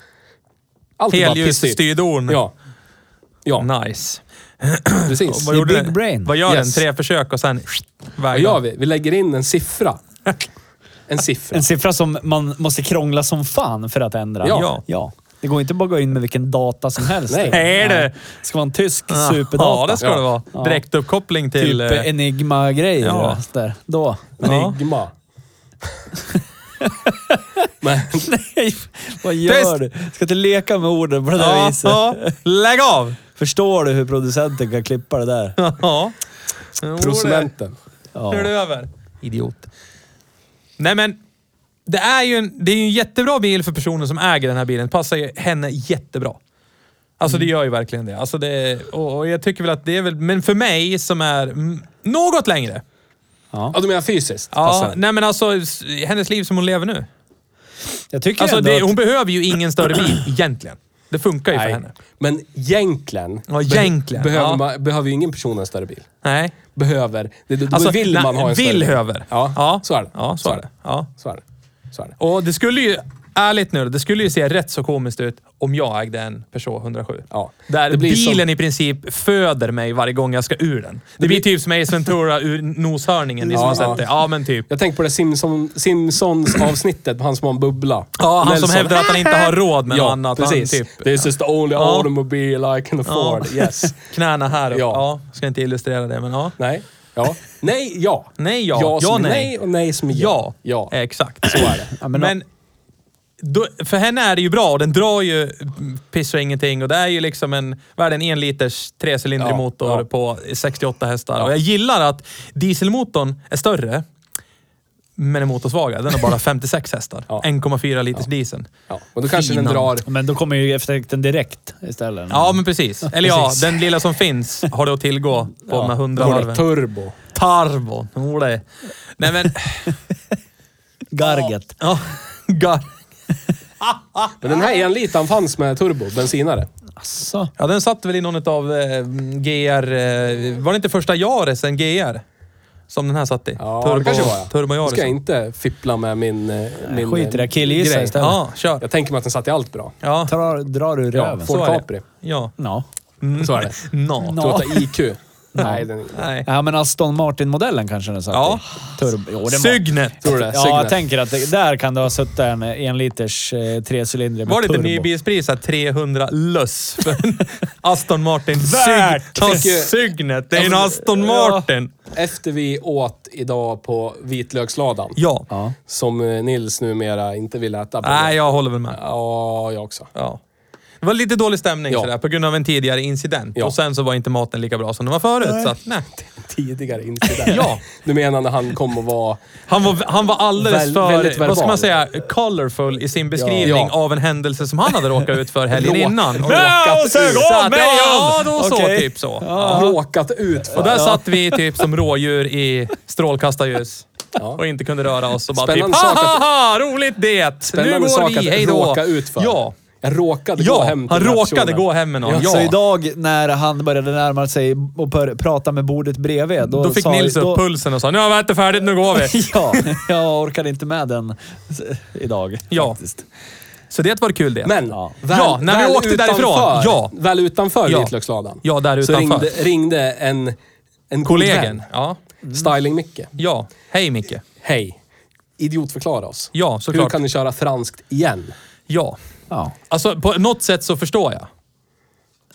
E: Allt är bara pissdyrt.
A: Helljusstyrdon.
E: Typ. Ja. Ja,
A: Nice.
E: precis.
A: Vad
C: är
A: gjorde
C: big
A: den?
C: brain.
A: Vad gör
E: Yes.
A: den? Tre försök och sen...
E: Vad gör vi? Vi lägger in en siffra. En siffra.
C: En siffra som man måste krångla som fan för att ändra.
E: Ja.
C: ja. Det går inte bara att gå in med vilken data som helst.
E: Nej.
A: Nej, du.
C: Det ska vara en tysk superdata.
A: Ja, det ska det vara.
C: Ja.
A: Direktuppkoppling till...
C: Typ
A: eh,
C: enigma-grejer.
A: ja.
C: Där. Då.
A: ja.
E: Enigma. Men,
C: Nej, vad gör
A: Tyst!
C: du? Ska inte leka med orden på det där
A: Ja,
C: viset.
A: ja. Lägg av!
C: Förstår du hur producenten kan klippa det där?
A: Ja. Jo, det-
E: prosumenten.
C: Ja.
A: Nu är det över. Idiot. Nej, men det är ju en, det är ju en jättebra bil för personen som äger den här bilen. Passar ju henne jättebra. Alltså
C: Mm.
A: det gör ju verkligen det. Alltså det och, och jag tycker väl att det är väl... Men för mig som är mm, något längre.
E: Ja, du menar fysiskt?
A: Ja,
E: Passar.
A: nej men alltså s- hennes liv som hon lever nu.
C: Jag tycker
A: Alltså
C: ändå
A: det,
C: att...
A: hon behöver ju ingen större bil egentligen. Det funkar ju för henne.
E: Men egentligen,
A: Ja, egentligen,
E: behöver,
A: ja.
E: man, behöver ju ingen person en större bil.
A: Nej.
E: Behöver. Det, då
A: Alltså,
E: vill
A: nej,
E: man ha en
A: vill
E: större
A: höver.
E: bil. Ja, så är det.
A: Ja, så, är det. Ja.
E: Så är det. Så är det.
A: Och det skulle ju, ärligt nu, det skulle ju se rätt så komiskt ut om jag ägde en Peugeot 107.
E: Ja.
A: Där
E: Det blir
A: bilen
E: som-
A: i princip föder mig varje gång jag ska ur den. Det, blir typ som Ace Ventura ur noshörningen, ni som
E: Ja,
A: har
E: ja.
A: sett det. Ja, men typ.
E: Jag tänker på det Simpson, Simpsons-avsnittet, han som har en bubbla.
A: Ja, han
E: Nelson.
A: som hävdar att han inte har råd med något
E: Ja,
A: annat.
E: precis.
A: Han typ,
E: This is the only
A: Ja.
E: automobile I can afford. Yes.
A: knäna här upp.
E: Ja.
A: Ja. ska inte illustrera det, men ja.
E: Nej. Ja. Nej, ja.
A: Nej, ja.
E: Ja,
A: Ja,
E: som är
A: nej.
E: nej och nej som är ja.
A: Ja, Eh,
E: Ja.
A: exakt.
E: Så är det.
C: Ja, men
A: men då, för henne är det ju bra och den drar ju piss och ingenting och det är ju liksom en, vad är det, en enliters trecylindrig
E: Ja,
A: motor
E: ja.
A: på 68 hästar. Och jag gillar att dieselmotorn är större, men är motorsvagare. Den har bara 56 hästar.
E: Ja.
A: 1,4 liters diesel.
E: Ja. Och då kanske den
A: Finan.
E: drar...
C: Men då kommer ju effekten direkt istället.
A: Ja, men precis. Eller ja,
C: Precis.
A: den lilla som finns har du att tillgå på de här 100
E: Då går det
A: varven.
E: turbo.
A: Tarvo. Jo, det. Nej, men...
C: Garget.
A: Ja, gar.
E: Men den här enlitan fanns med turbo, bensinare.
C: Asså.
A: Ja, den satt väl i någon av eh, GR... Eh, var det inte första Jaresen GR? Som den här satt i.
E: Ja, det kanske var ja.
A: Turbo
E: Nu ska
A: Jaresen.
E: jag inte fippla med min... eh, min
C: Skit i det.
E: eh,
C: Killgissa
E: grej.
C: istället.
A: Ja, kör.
E: Jag tänker mig att den satt i allt bra.
A: Ja,
C: Drar, drar ur
E: Ja,
C: röven.
E: Ford
A: så är det.
E: Capri.
A: ja.
C: Ja.
E: Så är det.
A: No.
C: Nå.
E: Toyota IQ. Nej, den,
A: Nej.
C: Ja, men Aston Martin-modellen kanske den satt
A: Ja.
C: i. Turbo. Jo, det må-
A: Sygnet.
E: tror du det?
C: Ja,
E: Signet.
C: jag tänker att det, där kan det ha suttit en enliters eh, trecylindrig med
A: Var det inte
C: turbo.
A: nybilspris att 300 löss för en Aston Martin?
C: Värt!
A: Sygn- Ja, Sygnet. Det är en Aston Martin.
E: Efter vi åt idag på vitlöksladan,
A: Ja.
C: Ja.
E: som eh, Nils numera inte vill äta på.
A: Nej, jag håller väl med.
E: Ja, jag också.
A: Ja. Det var lite dålig stämning
E: Ja.
A: sådär, på grund av en tidigare incident.
E: Ja.
A: Och sen så var inte maten lika bra som den var förut. Så att, nej.
E: Tidigare inte där.
A: Ja.
E: Du menar när han kom och var...
A: Han, var, han var alldeles
E: Väl- väldigt
A: för, vad ska
E: verbal.
A: man säga, colorful i sin beskrivning
E: Ja.
A: av en händelse som han hade råkat ut för helgen
E: Rå-
A: innan. Och
C: Ja, och sög
A: så
C: av
A: att,
C: mig!
A: ja, då så.
C: Okej.
A: Typ så.
E: Råkat ut för.
A: Och där satt vi typ som rådjur i strålkastarljus. Och inte kunde röra oss och bara
E: Spännande
A: typ ha,
E: sak att-
A: ha, ha, roligt det! nu
E: Spännande
A: går
E: sak
A: vi,
E: att
A: hej då!
E: råka ut för.
A: Ja,
E: Jag råkade gå
A: ja.
E: hem till
A: han
E: den här
A: råkade
E: personen.
A: gå hem med någon. Ja.
C: Så idag när han började närma sig och bör, prata med bordet bredvid. Då,
A: Då fick
C: sa,
A: Nils upp
C: då-
A: pulsen och sa nu har vi ätit färdigt, nu går vi.
C: Ja, jag orkade inte med den s- idag.
A: Ja.
C: Faktiskt.
A: Så det var kul det.
E: Men,
C: Ja.
E: väl,
A: Ja, när vi
E: väl
A: åkte
E: utanför,
A: därifrån. Ja.
E: Väl utanför
A: Ja.
E: vitlöksladan.
A: Ja, där
E: så
A: utanför.
E: ringde, ringde en, en god
A: Kollegen. Ja.
E: vän, Styling-Micke.
A: ja. Hej Micke.
E: Hej. Idiotförklara oss.
A: Ja,
E: Hur
A: såklart.
E: kan ni köra franskt igen?
A: Ja.
C: Ja.
A: Alltså på något sätt så förstår jag.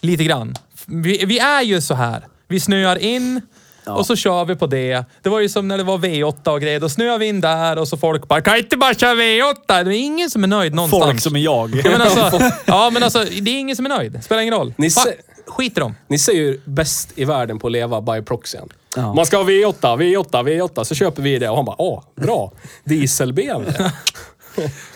A: Lite grann. Vi, vi är ju så här. Vi snöar in och så kör vi på det. Det var ju som när det var V8 och grejer. Då snöar vi in där och så folk bara “Kan inte bara köra V8?” Det är ingen som är nöjd någonstans.
C: Folk som är jag.
A: ja, men alltså, ja, men alltså, det är ingen som är nöjd. Spelar ingen roll.
E: Ni
A: Fuck,
E: ser-
A: skit i dem.
E: Nisse är ju bäst i världen på att leva by proxyen.
C: Ja.
E: Man ska ha V8, V8, V8. Så köper vi det och han bara, åh, bra. Diesel-BMW.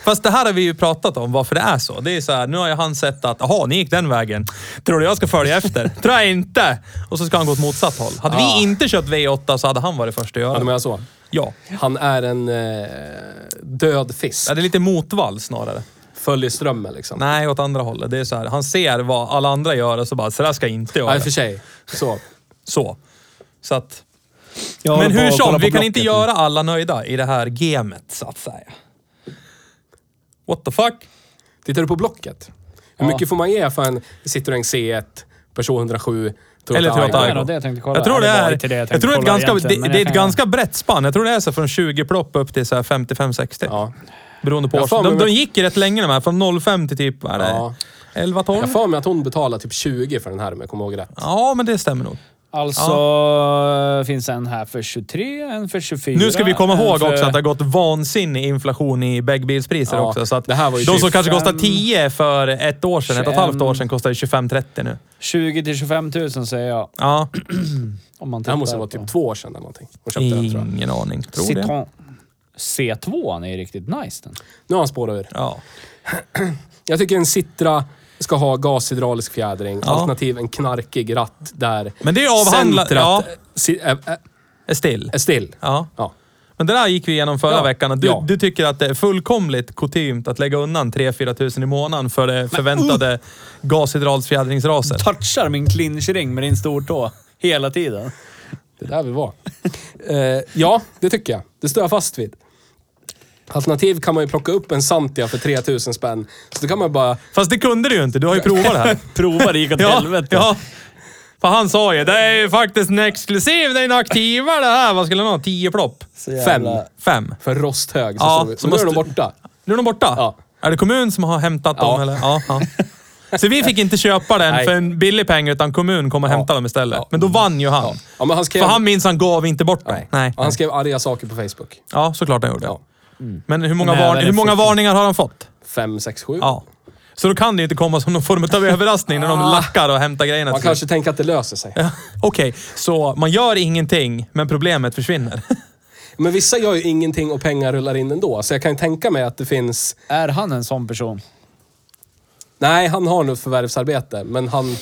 A: Fast det här har vi ju pratat om, varför det är så. Det är så här, nu har ju han sett att, jaha, ni gick den vägen. Tror du jag ska följa efter? Tror jag inte! Och så ska han gå åt motsatt håll. Hade vi inte kört V8 så hade han varit först att
E: Ja,
A: göra
E: du
A: det.
E: menar så?
A: Ja.
E: Han är en eh, död fisk.
A: Ja, det är lite motvall snarare.
E: Följer strömmen liksom. Nej,
A: Nej, åt andra hållet. Det är så här, han ser vad alla andra gör och så bara, så där ska jag inte göra.
E: i och för sig. Så.
A: Så. Så att,
C: Jag håller
A: men
C: på
A: hur
C: att kolla
A: som,
C: på
A: vi kan inte
C: Blocket.
A: göra alla nöjda i det här gamet, så att säga. What the fuck?
E: Tittar du på Blocket? Hur mycket får man ge för en Citroën C1, Peugeot 107, Toyota
A: Eller Toyota
E: Aygo?
C: det
A: Aygo.
C: var det jag tänkte kolla.
A: Jag tror det
C: Eller var
A: är,
C: inte det jag
A: jag
C: tänkte
A: tror det är ett,
C: kolla
A: ganska, det,
C: egentligen, men
A: det är
C: jag
A: ett
C: kan-
A: ganska brett spann. Jag tror det är så från 20 plopp upp till så här 55-60.
E: Ja.
A: Beroende på
E: Jag
A: års.
E: får
A: De,
E: mig-
A: de gick ju rätt länge de här. Från 05 till typ vad är det,
E: Ja.
A: 11-12.
E: Jag får mig att hon betalar typ 20 för den här om jag kommer ihåg rätt.
A: Ja, men det stämmer nog.
C: Alltså, finns en här för 23, en för 24.
A: Nu ska vi komma
C: en
A: ihåg
C: för...
A: också att det har gått vansinnig inflation i bagbilspriser
E: Ja,
A: också. Så att
E: det här var ju typ
A: de som
E: 25,
A: kanske kostade 10 för ett år sedan, ett och ett
C: 21.
A: halvt år sedan, kostar ju 25-30 nu.
C: 20 till 25 000 säger jag.
A: Ja,
C: Om man
E: Det här måste
C: tittar
E: vara
C: på-
E: typ två år sedan eller någonting. Hon köpte den tror jag.
A: ingen aning. Tror det.
C: Citroën. C2 är ju riktigt nice den.
E: Nu har han spårat ur.
A: Ja.
E: Jag tycker en Citra ska ha gashydraulisk fjädring,
A: Ja.
E: alternativ en knarkig ratt där
A: Men det är avhandlat.
E: centrat
A: Ja,
E: si- är, är-
A: still.
E: är still.
A: Ja.
E: Ja.
A: Men det där gick vi igenom förra
E: Ja.
A: veckan. att Du,
E: Ja.
A: du tycker att det är fullkomligt kutymt att lägga undan 3-4 tusen i månaden för det förväntade gashydralsfjädringsraset.
C: Touchar min clinchring med din stortå hela tiden.
E: Det är där vi var. Eh, ja, det tycker jag. Det står jag fast vid. Alternativ kan man ju plocka upp en Santia för 3000 spänn. Så då kan man bara...
A: Fast det kunde du ju inte. Du har ju provat det här.
C: Prova, det gick åt
A: Ja,
C: helvete.
A: ja. För han sa ju, det är ju faktiskt en exklusiv, det är en aktiva det här. Vad skulle han ha? 10 plopp?
C: Så jävla-
E: Fem.
A: Fem.
E: För rosthög. Så
A: Ja,
E: står vi.
A: så
E: Men nu är de
A: måste-
E: borta.
A: Nu är de borta?
E: Ja.
A: Är det kommun som har hämtat dem
E: Ja.
A: eller? Ja, ja. Så vi fick inte köpa den
E: Nej.
A: för en billig peng, utan kommun kom och hämtade dem istället. Men då vann ju han.
E: Ja, men han skrev,
A: För han minns han gav inte bort den.
E: nej.
A: Nej.
E: Och han skrev arga saker på Facebook.
A: Ja, såklart han gjorde.
E: Ja.
A: Men hur många,
C: Nej,
A: var...
C: men
A: hur många
C: effekten.
A: varningar har han fått?
E: fem sex sju
A: Ja. Så då kan det ju inte komma som någon form av överraskning när de lackar och hämtar grejerna
E: Ah. Man
A: till slut.
E: kanske tänker att det löser sig.
A: Okej, så man gör ingenting, men problemet försvinner.
E: Men vissa gör ju ingenting och pengar rullar in ändå. Så jag kan ju tänka mig att det finns...
C: Är han en sån person?
E: Nej, han har nog ett förvärvsarbete, men han...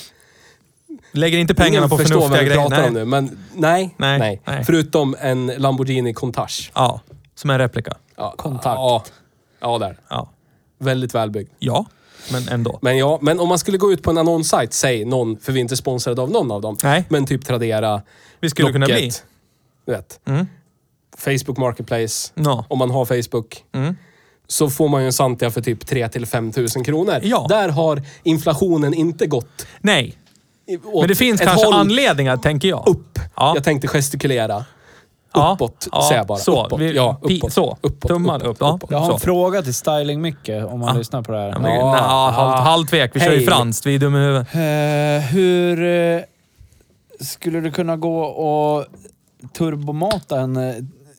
A: Lägger inte pengarna
E: ingen
A: på
E: förstår
A: förnuftiga
E: vad vi
A: grejer.
E: pratar
A: Nej.
E: om nu, men nej,
A: Nej,
E: nej,
A: nej.
E: Förutom en Lamborghini Countach.
A: Ja, som en replika.
E: Ja,
C: Countach.
E: Ja, ja, där.
A: Ja.
E: Väldigt välbyggd.
A: ja, men ändå.
E: Men ja, men om man skulle gå ut på en annonssajt, säg någon, för vi är inte sponsrade av någon av dem.
A: Nej.
E: Men typ Tradera,
A: Vi skulle kunna bli. Mm.
E: Blocket, Du vet. Facebook Marketplace.
A: Ja.
E: Om man har Facebook.
A: Mm.
E: Så får man ju en Santia för typ 3 till 5 000 kronor.
A: Ja.
E: Där har inflationen inte gått
A: Nej,
E: i- åt
A: men det finns
E: ett
A: kanske
E: håll
A: anledningar, tänker jag.
E: upp.
A: Ja.
E: Jag tänkte gestikulera.
A: Ja,
E: Uppåt,
A: ja,
E: säger jag bara.
A: så.
E: uppåt.
A: Vi-
E: ja,
A: pi-
E: uppåt.
A: så.
E: Uppåt,
A: Tummarna
E: uppåt,
A: upp, ja.
E: uppåt.
C: Jag har
A: Så.
C: en fråga till Styling-Micke om man
A: Ah.
C: lyssnar på det här.
A: Ja, men,
E: Ja,
A: ja,
E: ja.
A: halvt, halvtvek. Vi kör ju
E: Hej.
A: franskt. Vi är dumma i huvudet.
C: Eh, hur eh, skulle du kunna gå och turbomata en eh,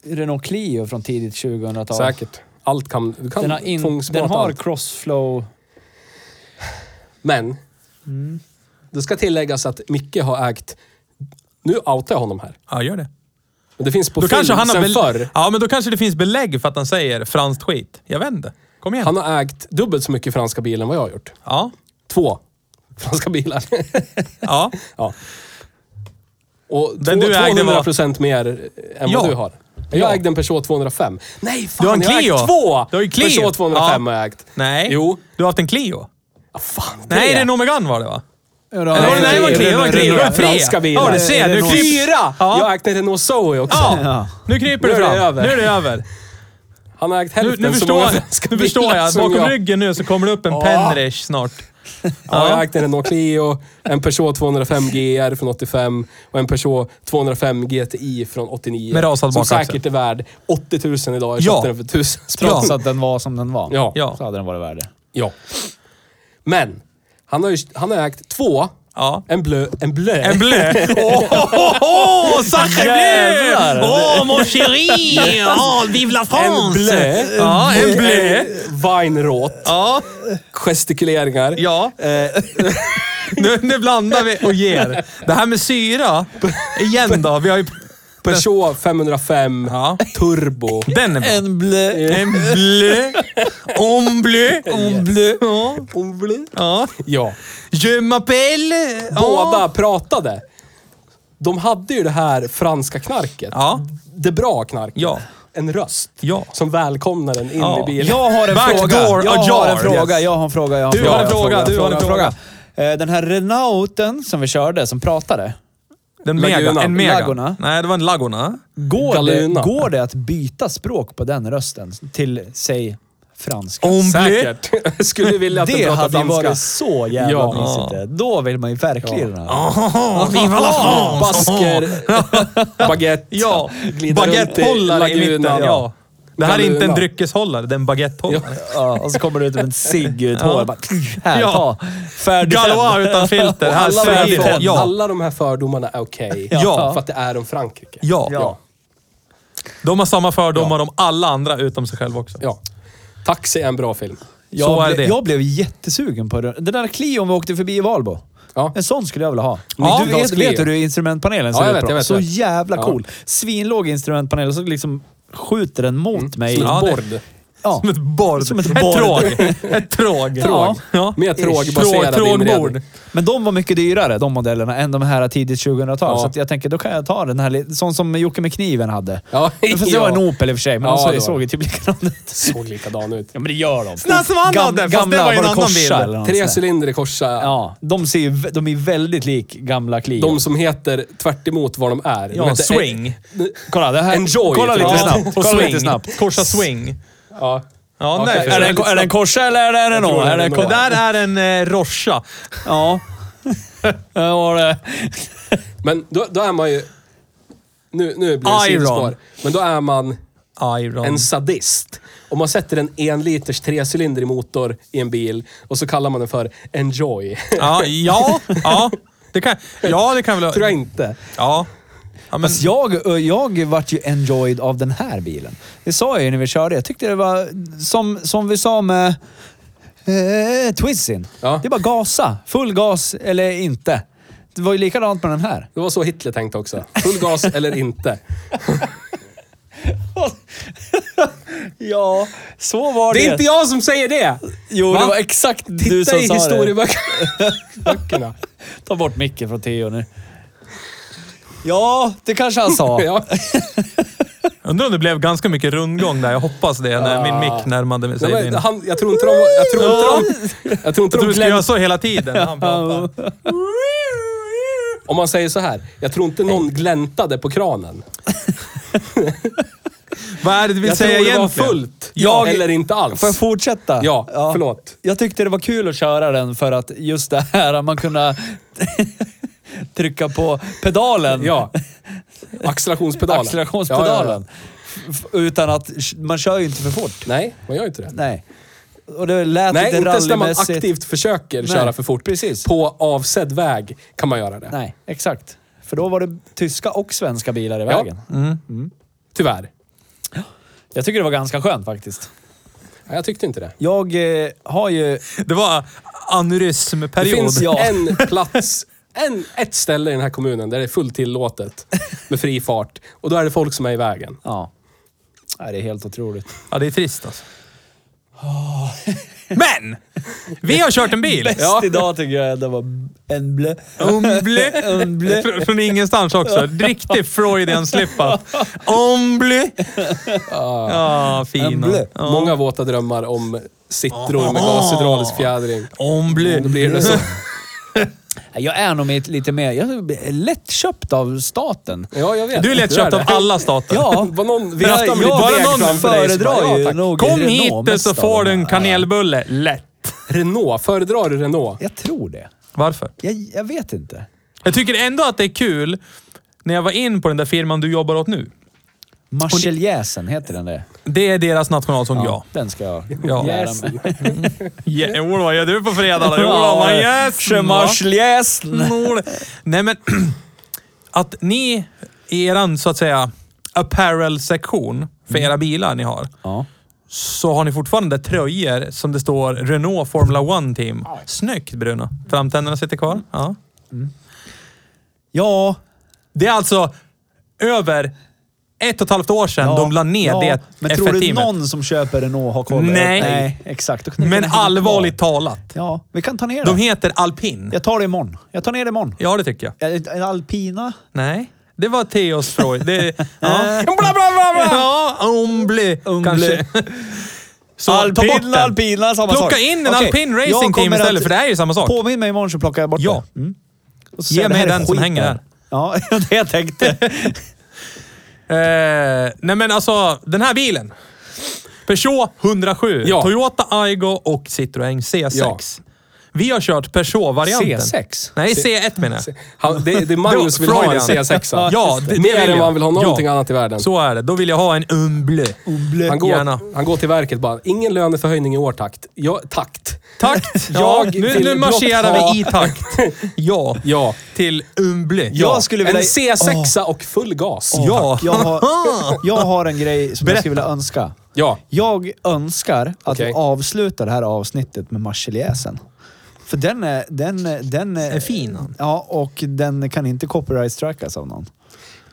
C: Renault Clio från tidigt 2000-tal?
E: Säkert. Allt kan... Du kan
C: Den har, in, den
E: tvångsmata
C: har
E: allt.
C: crossflow.
E: Men,
C: Mm.
E: det ska tilläggas att Micke har ägt... Nu outar jag honom här.
A: Ja, gör det.
E: Men det finns på
A: Då
E: film
A: kanske han har
E: sen
A: bel-
E: förr.
A: Ja, men då kanske det finns belägg för att han säger franskt skit. Jag vet inte. Kom igen.
E: Han har ägt dubbelt så mycket franska bilar än vad jag har gjort.
A: Ja.
E: Två franska bilar.
A: ja.
E: ja. Och
A: Den
E: två,
A: du ägde var-
E: 200 procent mer än
A: Ja.
E: vad du har. Jag
A: Ja.
E: ägde en Peugeot 205. Nej, fan!
A: Du har en
E: jag
A: Clio.
E: ägt två!
A: Du har ju Clio.
E: Peugeot 205
A: Ja.
E: har jag ägt.
A: Nej.
E: Jo.
A: Du har haft en Clio.
E: Ah, fan,
A: Nej, det är en Omegan var det va?
E: Nej,
A: Eller, nej, det var en Clio. Det var en Clio. Det var en
E: Renault.
A: Fria.
E: Franska bilar.
A: Ja, du ser. Nu
C: Renault.
A: kryper...
E: Fyra!
A: Ja.
E: Jag har ägt en Renault Zoe också.
A: Ja. Nu kryper
E: Nu
A: det
E: är det
A: fram.
E: över.
A: Nu är det över.
E: Han har ägt
A: Nu,
E: hälften
A: nu,
E: så
A: förstår,
E: många
A: jag,
E: franska
A: nu
E: bilar
A: förstår jag.
E: som
A: Bakom
E: jag.
A: ryggen nu så kommer det upp en
E: Ja.
A: Penrish snart.
E: Ja, jag
A: Ja.
E: har ägt en Renault Clio, en Peugeot 205 GR från 85 och en Peugeot 205 GTI från 89.
A: Med rasad
E: Som
A: bakaxel.
E: säkert är värd 80 000 idag. Jag köpte
A: Ja.
E: den för 1000 spänn.
C: Trots att den var som den var.
E: Ja.
A: Ja.
C: Så hade den varit värd det.
E: Ja. Men, han har, ju, han har ägt två.
A: Ja.
E: En blö. En blö.
A: En blö. Åh, oh, oh, oh, sacre bleu!
C: Jävlar.
A: Åh, oh, mon chéri! Oh, vive la
E: En
A: France!
E: blö.
A: Ja, en blö.
E: Vinråt.
A: Ja,
E: Gestikuleringar.
A: ja. Nu, nu blandar vi och ger. Det här med syra, igen då. Vi har ju...
E: Peugeot 505
A: Ja.
E: Turbo.
A: Den är bra.
C: En blö.
A: En bleu. En bleu. En bleu. Ja. Ja.
E: Ja.
A: Je m'appelle... Ja.
E: Båda pratade. De hade ju det här franska knarket.
A: Ja.
E: Det bra knarket.
A: Ja.
E: En röst.
A: Ja.
E: Som välkomnar den in
A: Ja.
E: i bilen.
C: Jag har en
A: Backdoor
C: fråga. Jag har en
A: ajar.
C: fråga.
A: Yes.
C: Jag har en fråga. Jag har en
A: Du har en
C: fråga.
A: fråga,
C: jag
A: du har en
C: jag
A: fråga.
C: Eh, Den här Renaulten som vi körde, som pratade.
A: Den mega.
E: Laguna.
A: En mega.
C: Laguna.
A: Nej, det var en laguna.
C: Går det,
E: Galuna.
C: går det att byta språk på den rösten till, säg, franska?
A: En bleu.
E: Säkert. Jag skulle vilja att den
C: det
E: pratade
C: hade ju
E: danska.
C: varit så jävla
E: Ja.
C: mysigt. det. Då vill man ju verkligen... Ja.
A: Oh, vive la France!
E: Basker, baguette.
A: Ja,
E: Glida
A: baguettehållare
E: runt
A: i mitten.
E: lagunan.
A: Ja. Det här är inte en
E: Laguna.
A: dryckeshållare, det är en baguettehållare.
C: och så kommer du ut med en cigg ur ett hår. Bara, här,
A: Ja.
C: ta. Färdig
A: Galois utan filter. Här
E: Alla,
A: svär
E: de
A: vi
E: här,
A: på. Ja.
E: alla de här fördomarna är okej.
C: Ja.
E: För att det är om Frankrike.
A: Ja.
E: Ja.
A: De har samma fördomar om alla andra utom sig själva också.
E: ja. Taxi är en bra film.
C: Jag,
A: Så är
C: ble,
A: det.
C: jag blev jättesugen på den. Den där Clion vi åkte förbi i Valbo.
E: Ja.
C: En sån skulle jag vilja ha.
E: Ja,
C: du
E: Claes
C: vet, vet
E: Clio.
C: hur instrumentpanelen
E: Ja,
C: ser
E: jag
C: ut
E: vet,
C: bra.
E: jag vet,
C: Så
E: jag vet.
C: jävla
E: Ja.
C: cool. Svinlåg instrumentpanel och så liksom skjuter den mot mig.
E: Mm. Som
A: Ja,
E: ett
A: det-
E: bord.
C: Ja.
A: Som ett borr.
C: Som ett
A: Ett
C: borr.
A: tråg. Ett tråg.
C: Tråg.
A: Ja.
E: Mer trågbaserad
A: Tråg-
E: inredning.
A: Trågbord.
C: Men de var mycket dyrare, de modellerna, än de här tidigt 2000-tal.
E: Ja.
C: Så att jag tänker, då kan jag ta den här, li- sån som Jocke med kniven hade.
E: Ja,
C: Fast det var en
E: ja.
C: Opel i och för sig, men
E: Ja,
C: de
E: det
C: såg,
E: var
C: såg
E: det.
C: ju typ likadant ut.
E: Såg likadan ut.
C: Ja, men det gör de.
A: Såna som han hade, fast det var ju en
C: var det
A: annan
C: Corsa
A: bild.
C: eller något
E: Tre
C: sånt där.
E: cylinder i korsa.
C: Ja, de, ser ju, vä- de är väldigt lik gamla Clio.
E: De som heter tvärt emot vad de är. De
A: Ja,
E: heter
A: swing.
C: kolla, det här,
E: Enjoy,
C: kolla lite
E: tror jag.
C: snabbt.
A: Och
C: Kolla
A: swing.
C: lite snabbt.
A: Korsa swing.
E: Ja.
A: Ja,
E: Okej.
A: nej.
C: Är det,
A: det,
C: en, är det en Corsa eller är det en
E: tror
C: Renault?
E: det är
C: Är det en
E: en
C: Corsa?
A: där är en eh, Roscha.
C: Ja. Där var det.
E: Men då, då är man ju... Nu, nu blir det
A: Iron.
E: sidospår. Men då är man
A: Iron.
E: en sadist. Om man sätter en enliters trecylindrig motor i en bil och så kallar man den för Enjoy.
A: Ja, ja. Ja, det kan, ja, det kan väl...
E: Tror jag inte.
A: Ja. ja men,
C: Fast jag, eh, jag vart ju enjoyed av den här bilen. Det sa jag ju när vi körde. Jag tyckte det var som, som vi sa med eh, Twizzin.
E: Ja.
C: Det är bara gasa. Full gas eller inte. Det var ju likadant med den här.
E: Det var så Hitler tänkte också. Full gas eller inte.
C: Ja, så var
E: Det är inte jag som säger det!
C: Jo,
E: Va?
C: det var exakt du
E: Titta
C: som
E: i
C: sa det.
E: historieböckerna.
C: Ta bort micken från Theo nu. Ja, det kanske han sa.
E: Ja.
A: undrar om det blev ganska mycket rundgång där. Jag hoppas det, när min mick närmade sig
E: Nej,
A: din.
E: men han, jag tror inte de... Jag tror inte de... Jag tror inte
A: Jag tror
E: de
A: vi ska
E: glömde
A: göra så hela tiden när han pratar.
E: Om man säger så här, jag tror inte någon gläntade på kranen.
A: Vad är det du vill
E: Jag tror
A: säga
E: det
A: egentligen?
E: var fullt.
C: Jag-
E: Eller inte alls.
C: Får jag fortsätta?
E: Ja, förlåt.
C: Jag tyckte det var kul att köra den för att just det här, att man kunde trycka på pedalen.
E: Ja. Accelerationspedalen. Ja, ja,
C: accelerationspedalen.
E: ja.
C: F- Utan att man kör ju inte för fort.
E: Nej, man gör inte det.
C: Nej. Och det lät
E: Nej,
C: lite
E: inte ens när man
C: rallymässigt.
E: aktivt försöker köra för fort.
C: precis.
E: På avsedd väg kan man göra det.
C: Nej, exakt. För då var det tyska och svenska bilar i
E: Ja.
C: vägen. Mm.
E: Tyvärr.
C: Jag tycker det var ganska skönt faktiskt.
E: Nej, jag tyckte inte det.
C: Jag eh, har ju...
A: Det var
E: Det
A: aneurysmperiod.
E: finns
C: Ja.
E: en plats, en, ett ställe i den här kommunen där det är fullt tillåtet med fri fart. Och då är det folk som är i vägen.
C: Ja. Nej, det är helt otroligt.
A: Ja, det är trist alltså. Men! Vi har kört en bil!
C: Bäst idag tycker jag det var en blö...
E: Mm.
A: Omble.
C: Omble.
A: Fr- Från ingenstans också. Riktig Freudian slip up. Omble. Ah. Ja, fina.
C: Omble.
E: Många våta drömmar om Citroen med gashydraulisk fjädring.
A: Omble.
E: Då blir det så.
C: Nej, Jag är nog med lite mer... Jag är lättköpt av staten.
E: Ja, jag vet.
A: Du är lättköpt av
E: det.
A: alla stater.
C: Ja.
E: Var någon
C: Ja,
E: viftade med
C: ja,
E: ditt
A: bara någon
E: deg framför dig så bara,
C: föredrar ju
E: ja, tack.
C: nog-
A: Kom
C: Renault
A: hit
C: mest
A: så
C: av
A: får du
C: dem.
A: en kanelbulle. Lätt.
E: Renault. Föredrar du Renault?
C: Jag tror det.
A: Varför?
C: Jag, jag vet inte.
A: Jag tycker ändå att det är kul när jag var in på den där firman du jobbar åt nu.
C: Marseljäsen, heter den det?
A: Det är deras nationalsång, ja.
C: Den ska jag
A: Ja.
C: lära
E: Jäsen.
C: mig.
A: ja. Jodå, vad gör du på fredag då? Jodå, vad yes,
C: Ja,
A: va?
C: Marseljäsen.
A: Snor. Nej men, att ni i eran så att säga apparel-sektion för
C: Mm.
A: era bilar ni har,
C: Ja.
A: så har ni fortfarande tröjor som det står Renault Formula 1 Team. Snyggt Bruno! Framtänderna sitter kvar. Ja.
C: Ja,
A: Det är alltså över ett och ett halvt år sedan
C: ja,
A: de la ner
C: ja.
A: det
C: Men tror du
A: F1-teamet.
C: någon som köper Renault har koll?
A: Nej.
C: Nej, exakt. Då kan det
A: Men
C: inte hänga
A: allvarligt
C: kvar.
A: talat,
C: Ja, vi kan ta ner
A: de
C: det.
A: heter Alpin.
C: Jag tar det imorgon. Jag tar ner det imorgon.
A: Ja, det tycker jag.
C: En en alpina?
A: Nej, det var Theos fråga. Det, ja.
E: Bla, bla, bla, bla.
A: Ja, ombli kanske. Så ta bort den.
C: Alpina, alpina, samma sak.
A: Plocka in en
C: Okej,
A: alpin
C: jag
A: racing team
C: kommer
A: istället,
C: att-
A: för det är ju samma sak.
C: Påminn mig imorgon så plockar jag bort
A: Ja.
C: det. Mm. Och så
A: Ge
C: säger jag,
A: mig
C: "Det här är
A: den som
C: skit
A: hänger
C: det här."
A: där.
C: Ja, det var det jag tänkte.
A: Eh, nej men alltså, den här bilen. Peugeot 107,
E: Ja.
A: Toyota Aygo och Citroën C6.
E: Ja.
A: Vi har kört Peugeot-varianten.
E: C6?
A: Nej, C1 menar jag.
E: Han, det, det är Magnus vill ha en
A: Freudian.
E: C6.
A: Ja, det- det
E: Mer
A: vill
E: än
A: jag.
E: vad han vill ha någonting
A: Ja.
E: annat i världen.
A: Så är det. Då vill jag ha en Umble.
E: han,
A: gärna.
E: går, han går till verket bara. Ingen löneförhöjning i år, takt. Ja, takt.
A: Takt! Ja,
E: Jag
A: nu,
E: vill
A: nu
E: blott
A: marscherar
E: ha-
A: vi i takt. Ja.
E: Ja.
A: Till Umble.
C: Jag skulle vilja-
E: En C6 och full gas.
A: Ja.
C: Jag har, jag har en grej som jag skulle vilja önska.
E: Ja.
C: Jag önskar att
E: Okej.
C: vi avslutar det här avsnittet med Marseljäsen. För den är... Den, är- den är,
A: Är fin, han.
C: Ja, och den kan inte copyright-strickas av någon.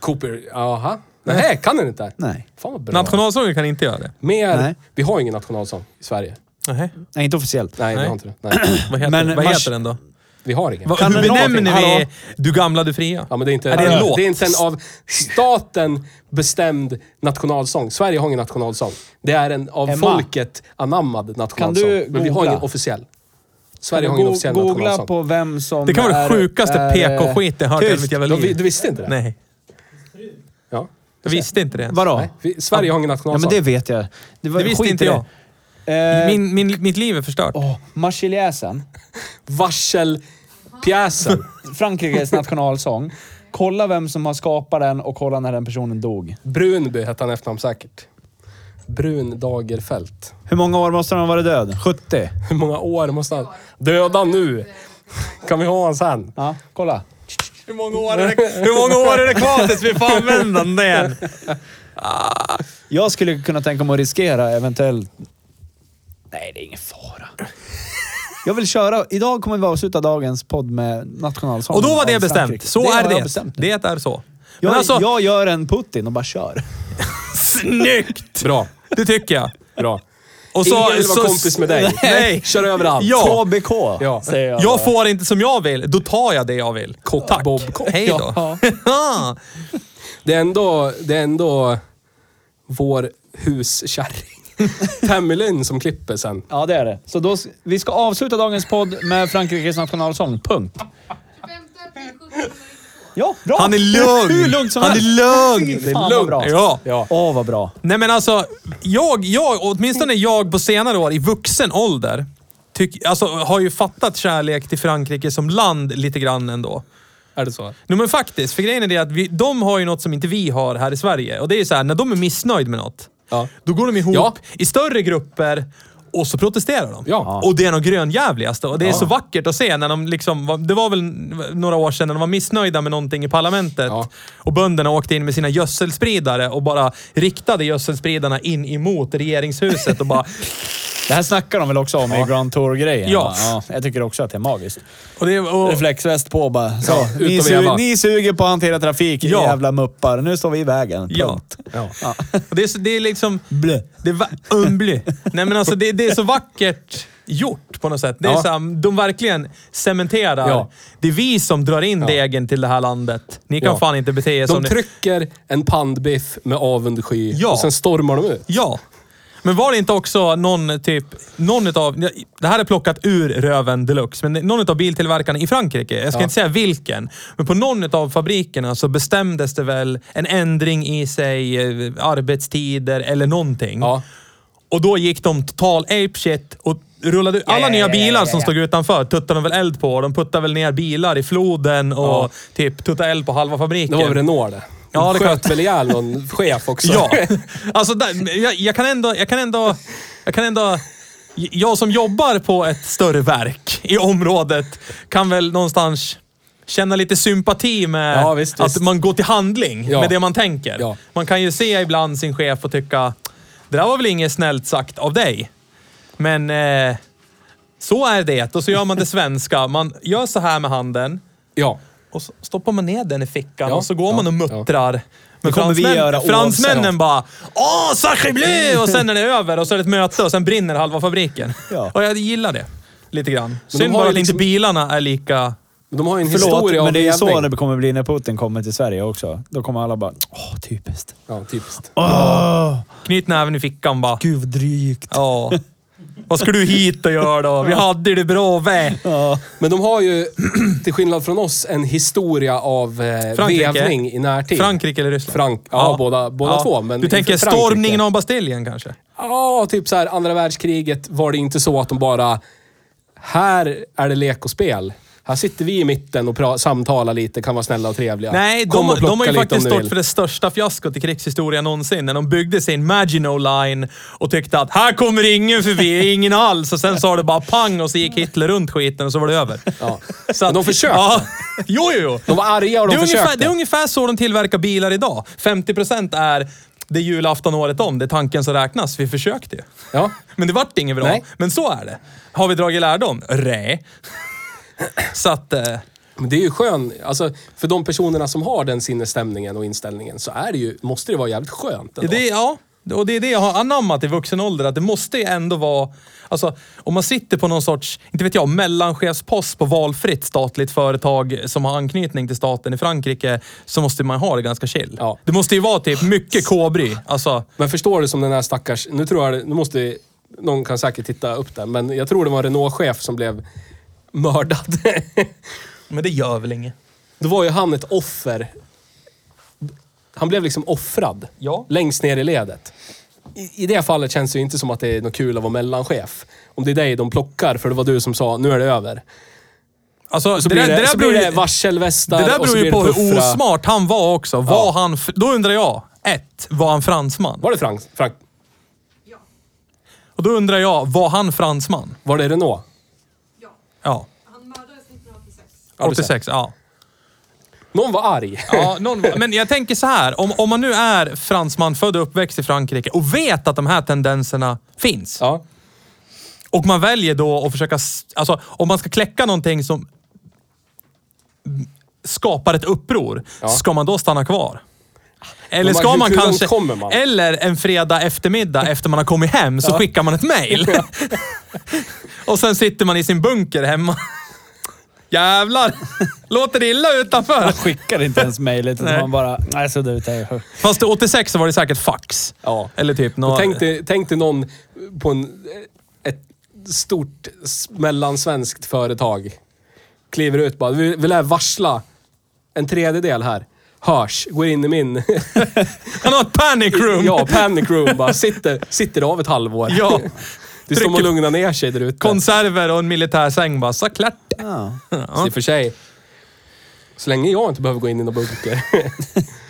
E: Cooper. Jaha. Nej, kan den inte?
C: Nej.
E: Fan vad bra.
A: Nationalsången kan inte göra det.
E: Mer,
C: Nej.
E: Vi har ingen nationalsång i Sverige.
A: Nej.
C: Nej, inte officiellt.
E: Nej, vi
A: Nej.
E: har inte det. Nej.
A: Vad heter,
C: Men
A: vad
C: mars-
A: heter den då?
E: Vi har ingen.
A: Va,
C: Kan
A: hur
C: den
A: benämner vi
C: någonting? Hallå?
A: Du gamla, du fria?
E: Ja, men det är inte,
A: Är det en låt?
E: det är inte en av staten bestämd nationalsång. Sverige har ingen nationalsång. Det är en av
C: Emma.
E: folket anammad nationalsång.
C: du
E: Men vi har
C: googla?
E: ingen officiell. Sverige har
C: Go-
E: ingen officiell
C: Googla
E: nationalsång.
C: på vem som
A: Det kan vara det
C: är-
A: sjukaste
C: är, eh,
A: PK-skiten jag hört i hela
C: tyst.
A: mitt jävla
E: Du, vi-
A: liv.
E: du visste inte det?
A: Nej,
E: Ja.
A: jag visste inte det ens.
C: Vadå?
E: Nej. Vi, Sverige har ingen
C: Ja, men
E: nationalsång.
C: det vet jag. var-
A: Det visste
C: skit i
A: inte jag.
C: det. Eh,
A: Min, min, mitt liv är förstört.
C: åh, Marseljäsen.
E: Varselpjäsen.
C: Frankrikes nationalsång. Kolla vem som har skapat den och kolla när den personen dog.
E: Brunby hette han i efternamn säkert. Brun Dagerfält.
C: Hur många år måste han ha varit död? 70?
E: Hur många år måste han... Döda nu! Kan vi ha han sen?
C: Ja, kolla.
A: Hur många år är det, hur många år är det kvar tills vi får använda den där?
C: Ah. Jag skulle kunna tänka mig att riskera eventuellt... Nej, det är ingen fara. Jag vill köra. Idag kommer vi avsluta dagens podd med nationalsången.
A: Och då var
C: av
A: det bestämt.
C: Frankrike.
A: Så
C: har
A: är
C: jag
A: det.
C: bestämt.
A: Det är så. Men
C: Jag,
A: alltså,
C: jag gör en Putin och bara kör.
A: snyggt!
E: Bra.
A: Det tycker jag.
E: Bra.
A: Och
E: Ingen vill vara kompis med dig.
A: Nej.
E: Kör över allt.
A: Ja.
C: KBK,
E: Ja.
C: säger jag.
A: Jag får inte som jag vill, då tar jag det jag vill.
E: Kock,
A: Tack.
E: Bob, kock.
A: Hej då.
E: Det är ändå, det är ändå vår huskärring. Tämmelin som klipper sen.
C: Ja, det är det. Så då, s- vi ska avsluta dagens podd med Frankrikes nationalsång. Punkt.
D: 25 april 1792.
C: Ja, bra!
A: Han är lugn.
C: Hur lugnt som
A: Han är
C: helst.
A: lugn.
C: Fy Fan, vad bra.
A: Ja.
E: Ja.
C: Åh, vad bra.
A: Nej men alltså, jag, jag, åtminstone jag på senare år i vuxen ålder, tyck, alltså, har ju fattat kärlek till Frankrike som land lite grann ändå.
E: Är det så?
A: No, men faktiskt, för grejen är det att vi, de har ju något som inte vi har här i Sverige. Och det är ju så här, när de är missnöjda med något,
E: Ja.
A: då går de ihop
E: Ja.
A: i större grupper och så protesterar de.
E: Ja.
A: Och det är något grönjävligaste. Och det är så vackert att se när de liksom, var- det var väl några år sedan när de var missnöjda med någonting i parlamentet.
E: Ja.
A: Och bönderna åkte in med sina gödselspridare och bara riktade gödselspridarna in emot regeringshuset och bara...
C: Det här snackar de väl också om i Grand Tour-grejen?
A: Ja.
C: va? ja. Jag tycker också att det är magiskt.
A: Och det, och,
C: Reflexväst på bara. Så,
E: Ja,
C: ni,
E: ut och veva.
C: su- ni suger på att hantera trafik,
A: Ja.
C: jävla muppar. Nu står vi i vägen.
A: ja.
C: Punkt.
E: Ja.
A: Och det, är, så- det är liksom...
C: Blö.
A: Det är va- Umbly. Nej men alltså det, det är så vackert gjort på något sätt. Det är
E: Ja.
A: så här, de verkligen cementerar.
E: Ja.
A: Det är vi som drar in degen till det här landet. Ni kan
E: Ja.
A: fan inte bete er som
E: De
A: ni...
E: trycker en pandbiff med avundsky
A: Ja.
E: och sen stormar de ut.
A: Ja. Men var det inte också någon typ, någon utav, det här är plockat ur röven deluxe, men någon utav biltillverkarna i Frankrike, jag ska
E: Ja.
A: inte säga vilken, men på någon utav fabrikerna så bestämdes det väl en ändring i sig, eh, arbetstider eller någonting.
E: Ja.
A: Och då gick de total apeshit och rullade ut. Alla
C: ja,
A: nya
C: ja,
A: bilar
C: ja, ja,
A: som
C: ja.
A: stod utanför tuttade de väl eld på. De puttade väl ner bilar i floden och typ tuttade eld på halva
E: Det
A: fabriken.
E: var väl Renault det. De
A: Ja, det kan-
E: sköt väl ihjäl någon chef också.
A: Ja, alltså där, jag, jag kan ändå, jag kan ändå, jag kan ändå, jag som jobbar på ett större verk i området kan väl någonstans känna lite sympati med
E: Ja, visst,
A: att
E: visst.
A: man går till handling
E: Ja.
A: med det man tänker.
E: Ja.
A: Man kan ju se ibland sin chef och tycka, det där var väl inget snällt sagt av dig. Men eh, så är det och så gör man det svenska. Man gör så här med handen
E: ja.
A: och så stoppar man ner den i fickan
E: Ja,
A: och så går
E: ja,
A: man och muttrar. Men
C: Det kommer vi
A: fransmän,
C: göra
A: fransmännen
C: oavsett.
A: bara Åh, sacre bleu! Och sen är det över och så är det ett möte och sen brinner halva fabriken.
C: Ja.
A: Och jag gillar det. Lite grann.
E: de
A: Synd
E: har
A: bara
E: ju
A: att
E: liksom-
A: inte bilarna är lika...
E: De har ju en
C: Förlåt,
E: historia
C: men
E: av
C: det är så
E: revning.
C: det kommer bli när Putin kommer till Sverige också. Då kommer alla bara “Åh, typiskt.
E: Ja, typiskt.
A: Knyt näven i fickan bara.
C: Gud vad drygt.”
A: Ja. Vad ska du hit och göra då? Vi hade det bra vä.
E: Men de har ju, till skillnad från oss, en historia av eh,
A: Frankrike.
E: vevning i närtid.
A: Frankrike eller Ryssland?
E: Frank- ja, båda- båda två, men
A: du tänker
E: inför Frankrike.
A: stormningen av Bastiljen kanske?
E: Ja, typ så här andra världskriget var det inte så att de bara... Här är det lek och spel. Här sitter vi i mitten och pra- samtalar lite, kan vara snälla och trevliga.
A: Nej,
E: Kom
A: de,
E: och plocka
A: de har ju
E: lite om
A: faktiskt
E: ni
A: stått
E: vill.
A: för det största fiaskot i krigshistorien någonsin. När de byggde sin Maginot Line och tyckte att här kommer ingen förbi, ingen alls. Och sen sa det bara pang och så gick Hitler runt skiten och så var det över.
E: Ja.
A: Så att,
E: de försökte.
A: Ja, jo, jo, jo.
E: De var arga och de
A: det, är ungefär,
E: försökte.
A: det är ungefär så de tillverkar bilar idag. 50% är det är julafton året om. Det är tanken som räknas. Vi försökte ju.
E: Ja.
A: Men det vart inget bra.
E: Nej.
A: Men så är det. Har vi dragit lärdom? Nej. Så att... Eh,
E: Men det är ju skön, alltså för de personerna som har den sinnesstämningen och inställningen så är det ju, måste det vara jävligt skönt ändå.
A: Det, ja, och det är det jag har anammat i vuxen ålder. Att det måste ju ändå vara... Alltså, om man sitter på någon sorts, inte vet jag, mellanchefspost på valfritt statligt företag som har anknytning till staten i Frankrike, så måste man ha det ganska chill.
E: Ja.
A: Det måste ju vara typ mycket kobry. Alltså,
E: Men förstår du som den här stackars, nu tror jag, nu måste, någon kan säkert titta upp den, men jag tror det var en Renault-chef som blev mördad.
A: men det gör väl inget.
E: Då var ju han ett offer. Han blev liksom offrad.
A: Ja.
E: Längst ner i ledet. I, I det fallet känns det ju inte som att det är något kul att vara mellanchef. Om det är dig de plockar, för det var du som sa nu är det över.
A: Alltså,
E: Så
A: det,
E: blir
A: där-
E: det,
A: det där
E: så blir
A: beror
E: det
A: ju-
E: varselvästar
A: det där
E: och så
A: beror ju
E: blir
A: på
E: det
A: hur
E: puffra.
A: osmart han var också. Var
E: Ja.
A: han, f- då undrar jag, ett, var han fransman?
E: Var det Frank, Frank?
D: Ja.
A: Och då undrar jag, var han fransman?
E: Var det Renault?
D: Ja.
A: Ja.
D: Han mördades 1986.
E: Ja, du ser.
A: 86, ja.
E: Någon var arg.
A: Ja, någon, men jag tänker så här. Om, om man nu är fransman, född och uppväxt i Frankrike och vet att de här tendenserna finns.
E: Ja.
A: Och man väljer då att försöka... s- Alltså, om man ska kläcka någonting som skapar ett uppror,
E: Ja.
A: ska man då stanna kvar? Eller
E: Men
A: ska
E: hur-
A: man
E: hur långt
A: kanske...
E: kommer man?
A: Eller en fredag eftermiddag efter man har kommit hem så skickar man ett mail. och sen sitter man i sin bunker hemma. Jävlar! Låter det illa utanför?
C: Skickade inte ens mejlet utan
A: Nej.
C: man bara “Nej, sudda ut det här”.
A: Fast det 86 så var det säkert fax.
E: Ja.
A: Eller typ
E: Och
A: något...
E: Tänk, dig, tänk dig någon på en, ett stort s- mellansvenskt företag. Kliver ut bara. Vi vill varsla en tredjedel här. Hörs. Går in i min...
A: Han har ett panic room!
E: ja, panic room. Bara sitter, sitter av ett halvår.
A: Ja.
E: Det är som att
A: Trycker-
E: lugna ner sig där ute.
A: Konserver och en militär säng bara, så klart.
C: Ja.
E: I och för sig. Så länge jag inte behöver gå in i någon bunker.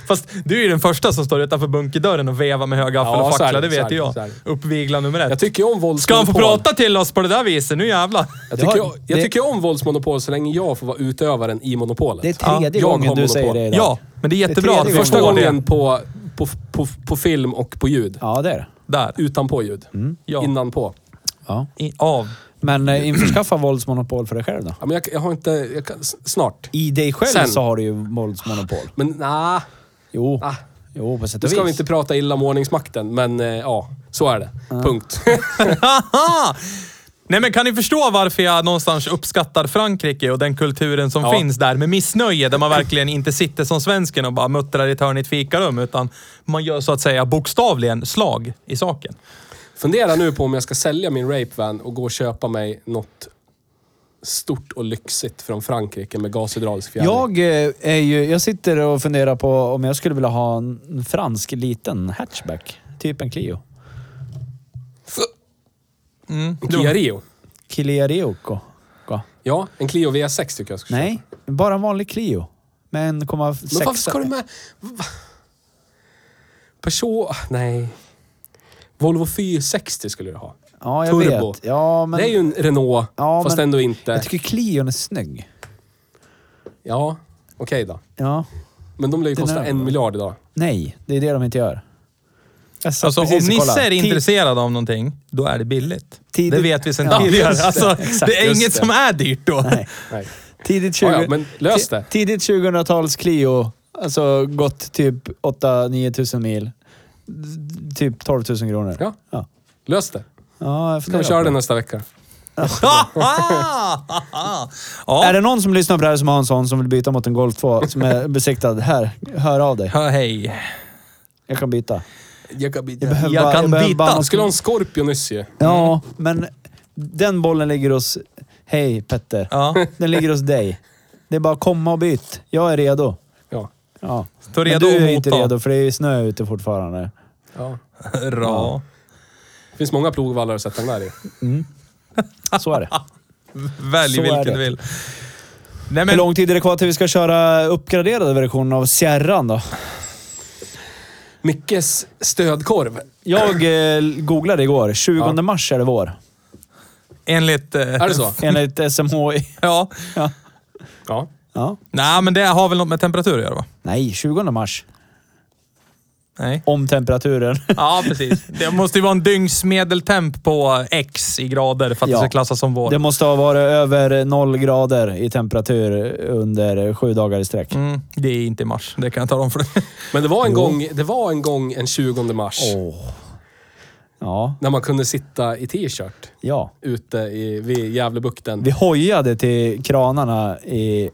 A: Fast du är ju den första som står utanför bunkerdörren och vevar med hög gaffel
E: Ja,
A: och
E: så är
A: fackla,
E: det,
A: det
E: så
A: vet
E: är det,
A: ju jag.
E: så är det.
A: Uppvigla nummer ett.
E: Jag tycker ju om våldsmonopol.
A: Ska han få prata till oss på det där viset? Nu jävlar.
E: Jag
C: Ja,
E: tycker, jag, jag
C: det-
E: tycker ju om våldsmonopol så länge jag får vara utövaren i monopolet.
C: Det är tredje
E: jag
C: gången
E: har
C: du
E: monopol.
C: säger det idag.
A: Ja, men det är jättebra
C: tredje
A: att vi
C: gången.
E: Första
A: får det.
E: gången på, på, på, på film och på ljud.
C: Ja, det är det.
A: Där.
E: Utanpå ljud.
A: Ja.
E: Innanpå.
C: Ja.
A: I, av.
C: Men eh, införskaffa våldsmonopol för dig själv då.
E: Ja, men jag, jag har inte... Jag kan, s- snart.
C: I dig själv
E: Sen.
C: så har du ju våldsmonopol.
E: Men nah,
C: Jo,
E: Ah.
C: jo på sätt
E: nu
C: och
E: ska vi
C: vis.
E: inte prata illa om ordningsmakten, men eh, ja, så är det. Punkt.
A: Haha! Nej men kan ni förstå varför jag någonstans uppskattar Frankrike och den kulturen som
E: Ja.
A: finns där med missnöje där man verkligen inte sitter som svensken och bara muttrar i ett hörn i ett fikarum utan man gör så att säga bokstavligen slag i saken.
E: Fundera nu på om jag ska sälja min rapevan och gå och köpa mig något stort och lyxigt från Frankrike med gashydraulisk fjädring.
C: Jag, eh, är ju, jag sitter och funderar på om jag skulle vilja ha en fransk liten hatchback. Typ en Clio.
E: En Kia Rio.
C: Clio Rioco.
E: Ja, en Clio V6 tycker jag ska köpa.
C: Nej, bara en vanlig Clio. Med
E: Men varför ska du
C: 1,6.
E: med... Va? Peugeot... Nej. Volvo 460 skulle du ha.
C: Ja, jag
E: Turbo.
C: vet. Ja, men,
E: det är ju en Renault,
C: Ja,
E: fast
C: men-
E: ändå inte.
C: Jag tycker Clion är snygg.
E: Ja, okej då.
C: Ja.
E: Men de lär ju
C: Den
E: kosta
C: är-
E: en miljard idag.
C: Nej, det är det de inte gör. Jag satt
A: Alltså om
C: precis och
A: Nisse
C: kollade.
A: är intresserad av någonting, då är det billigt.
C: Tidigt-
A: Det vet vi sedan
C: Ja,
A: tidigare.
C: just det.
A: Alltså,
C: Exakt,
A: det är
E: just
A: inget
E: det.
A: som är dyrt då.
C: Nej.
E: Nej.
C: Tidigt, 20,
E: Ja, ja, men
C: ti-
E: lös det.
C: tidigt 2000-tals Clio. Alltså gått typ 8-9 tusen mil. Typ 12 000 kronor.
E: Ja.
C: Ja,
E: Lös det.
C: ja jag
E: Kan
C: funderar
E: vi köra
C: på
E: den nästa vecka.
C: Är
A: ja,
C: det någon som lyssnar på det här som har en sån som vill byta mot en Golf 2 som är besiktad? Här, hör av dig.
A: Ja, hej.
C: Jag kan byta.
E: Jag kan byta.
C: Jag behöver
A: Jag
C: bara-
A: kan
C: behöver
A: byta.
C: bara Mm.
E: Han
C: något-
E: skulle ha en Scorpio nyss ju.
C: Ja, men den bollen ligger hos... Hej Petter.
A: Ja,
C: Den ligger hos dig. Det är bara att komma och byt. Jag är redo.
E: Ja.
C: Ja.
A: stå
C: Men
A: redo
C: du är
A: att
C: inte
A: mota.
C: redo för det är ju snö ute fortfarande.
E: ja.
A: Bra.
E: Det finns många plogvallar att sätta den där i.
C: Så är det.
A: Välj
C: Så är
A: vilken
C: det.
A: du vill. Nej,
C: Hur
A: men,
C: lång tid är det kvar till vi ska köra uppgraderade versionen av Sierran då?
E: Mickes stödkorv.
C: Jag eh, googlade igår. 20
E: Ja.
C: mars är det vår.
A: enligt... eh,
E: Är det så?
C: Enligt SMHI.
A: Ja.
E: Ja.
C: Ja.
A: Nej, men det har väl något med temperatur att göra va?
C: Nej, 20 mars.
A: Nej.
C: Om temperaturen.
A: Ja, precis. Det måste ju vara en dygnsmedeltemp på X i grader för att
C: Ja.
A: det ska klassas som vår.
C: Det måste ha varit över noll grader i temperatur under sju dagar i sträck.
A: Mm, det är inte i mars, det kan jag tala om för dig.
E: Men det var en, gång, det var en gång en 20 mars
C: Åh. Ja,
E: när man kunde sitta i t-shirt
C: ja.
E: ute i, vid Gävlebukten.
C: Vi hojade till kranarna i...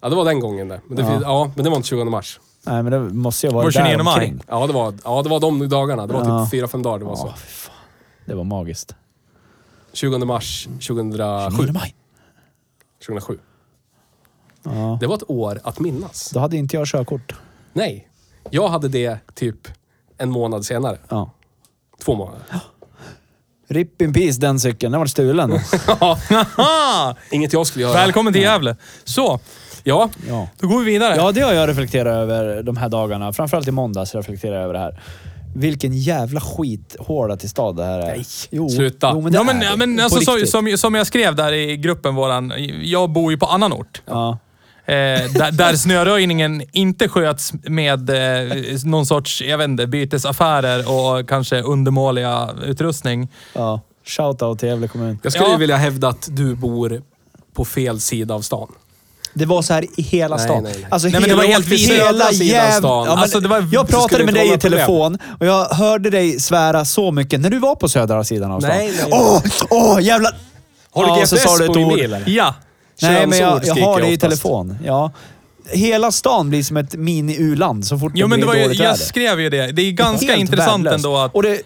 E: Ja, det var den gången det. Men det, ja. ja, men det var inte 20 mars.
C: Nej, men det måste ju ha
A: Var
C: varit
A: det 29
C: där
A: maj?
C: omkring.
E: Ja, det var, ja, det var de dagarna. Det var
C: Ja.
E: typ fyra fem dagar det var så.
C: Ja, fy fan. Det var magiskt.
E: 20 mars 2007.
C: 9 maj.
E: 2007.
C: Ja.
E: Det var ett år att minnas.
C: Då hade inte jag körkort.
E: Nej. Jag hade det typ en månad senare.
C: Ja.
E: Två månader.
C: Rip in peace den cykeln. Den var stulen.
A: Haha!
E: Inget jag skulle göra.
A: Välkommen till Gävle. Så,
E: Ja,
C: Ja.
A: då går vi vidare.
C: ja, det har jag reflekterat över de här dagarna. Framförallt i måndags reflekterade jag över det här. Vilken jävla skithåla till stad det här är. Nej, jo,
E: sluta.
C: Jo, men det
A: Ja, men,
C: är
A: ja,
C: det.
A: men
C: På
A: alltså, så,
C: riktigt.
A: som, som jag skrev där i gruppen våran, jag bor ju på annan ort.
C: Ja.
A: Eh, där, där snöröjningen inte sköts med eh, någon sorts, jag vet inte, bytesaffärer och kanske undermåliga utrustning.
C: Ja. Shoutout till Gävle kommun.
E: jag skulle
A: Ja.
E: ju vilja hävda att du bor på fel sida av stan.
C: Det var så här i hela
E: Nej,
C: stan.
E: nej, nej.
C: Alltså
A: Nej, men det
C: hela,
A: var helt vid
C: hela
E: södra sidan
C: jäv...
E: stan.
C: men
A: Alltså, det var-
C: jag
A: det
E: skulle
C: pratade med
E: inte
C: dig
E: vara
C: i
E: något
C: telefon
E: problem.
C: och jag hörde dig svära så mycket när du var på södra sidan av stan.
E: Nej, nej, nej.
C: Åh, åh jävlar!
E: Har du
C: Ja, så
E: GPS
C: sa du ett
E: på din
C: ord.
E: bil eller?
A: Ja.
C: Nej, men jag,
E: Könsord
C: jag
E: skriker
C: har det i
E: oftast.
C: telefon. Ja. Hela stan blir som ett mini-u-land så fort
A: Jo, men det
C: blir
A: var ju,
C: dåligt
A: jag
C: väder.
A: skrev ju det. Det är ganska
C: Helt
A: intressant
C: värdelöst.
A: ändå att
C: Och det är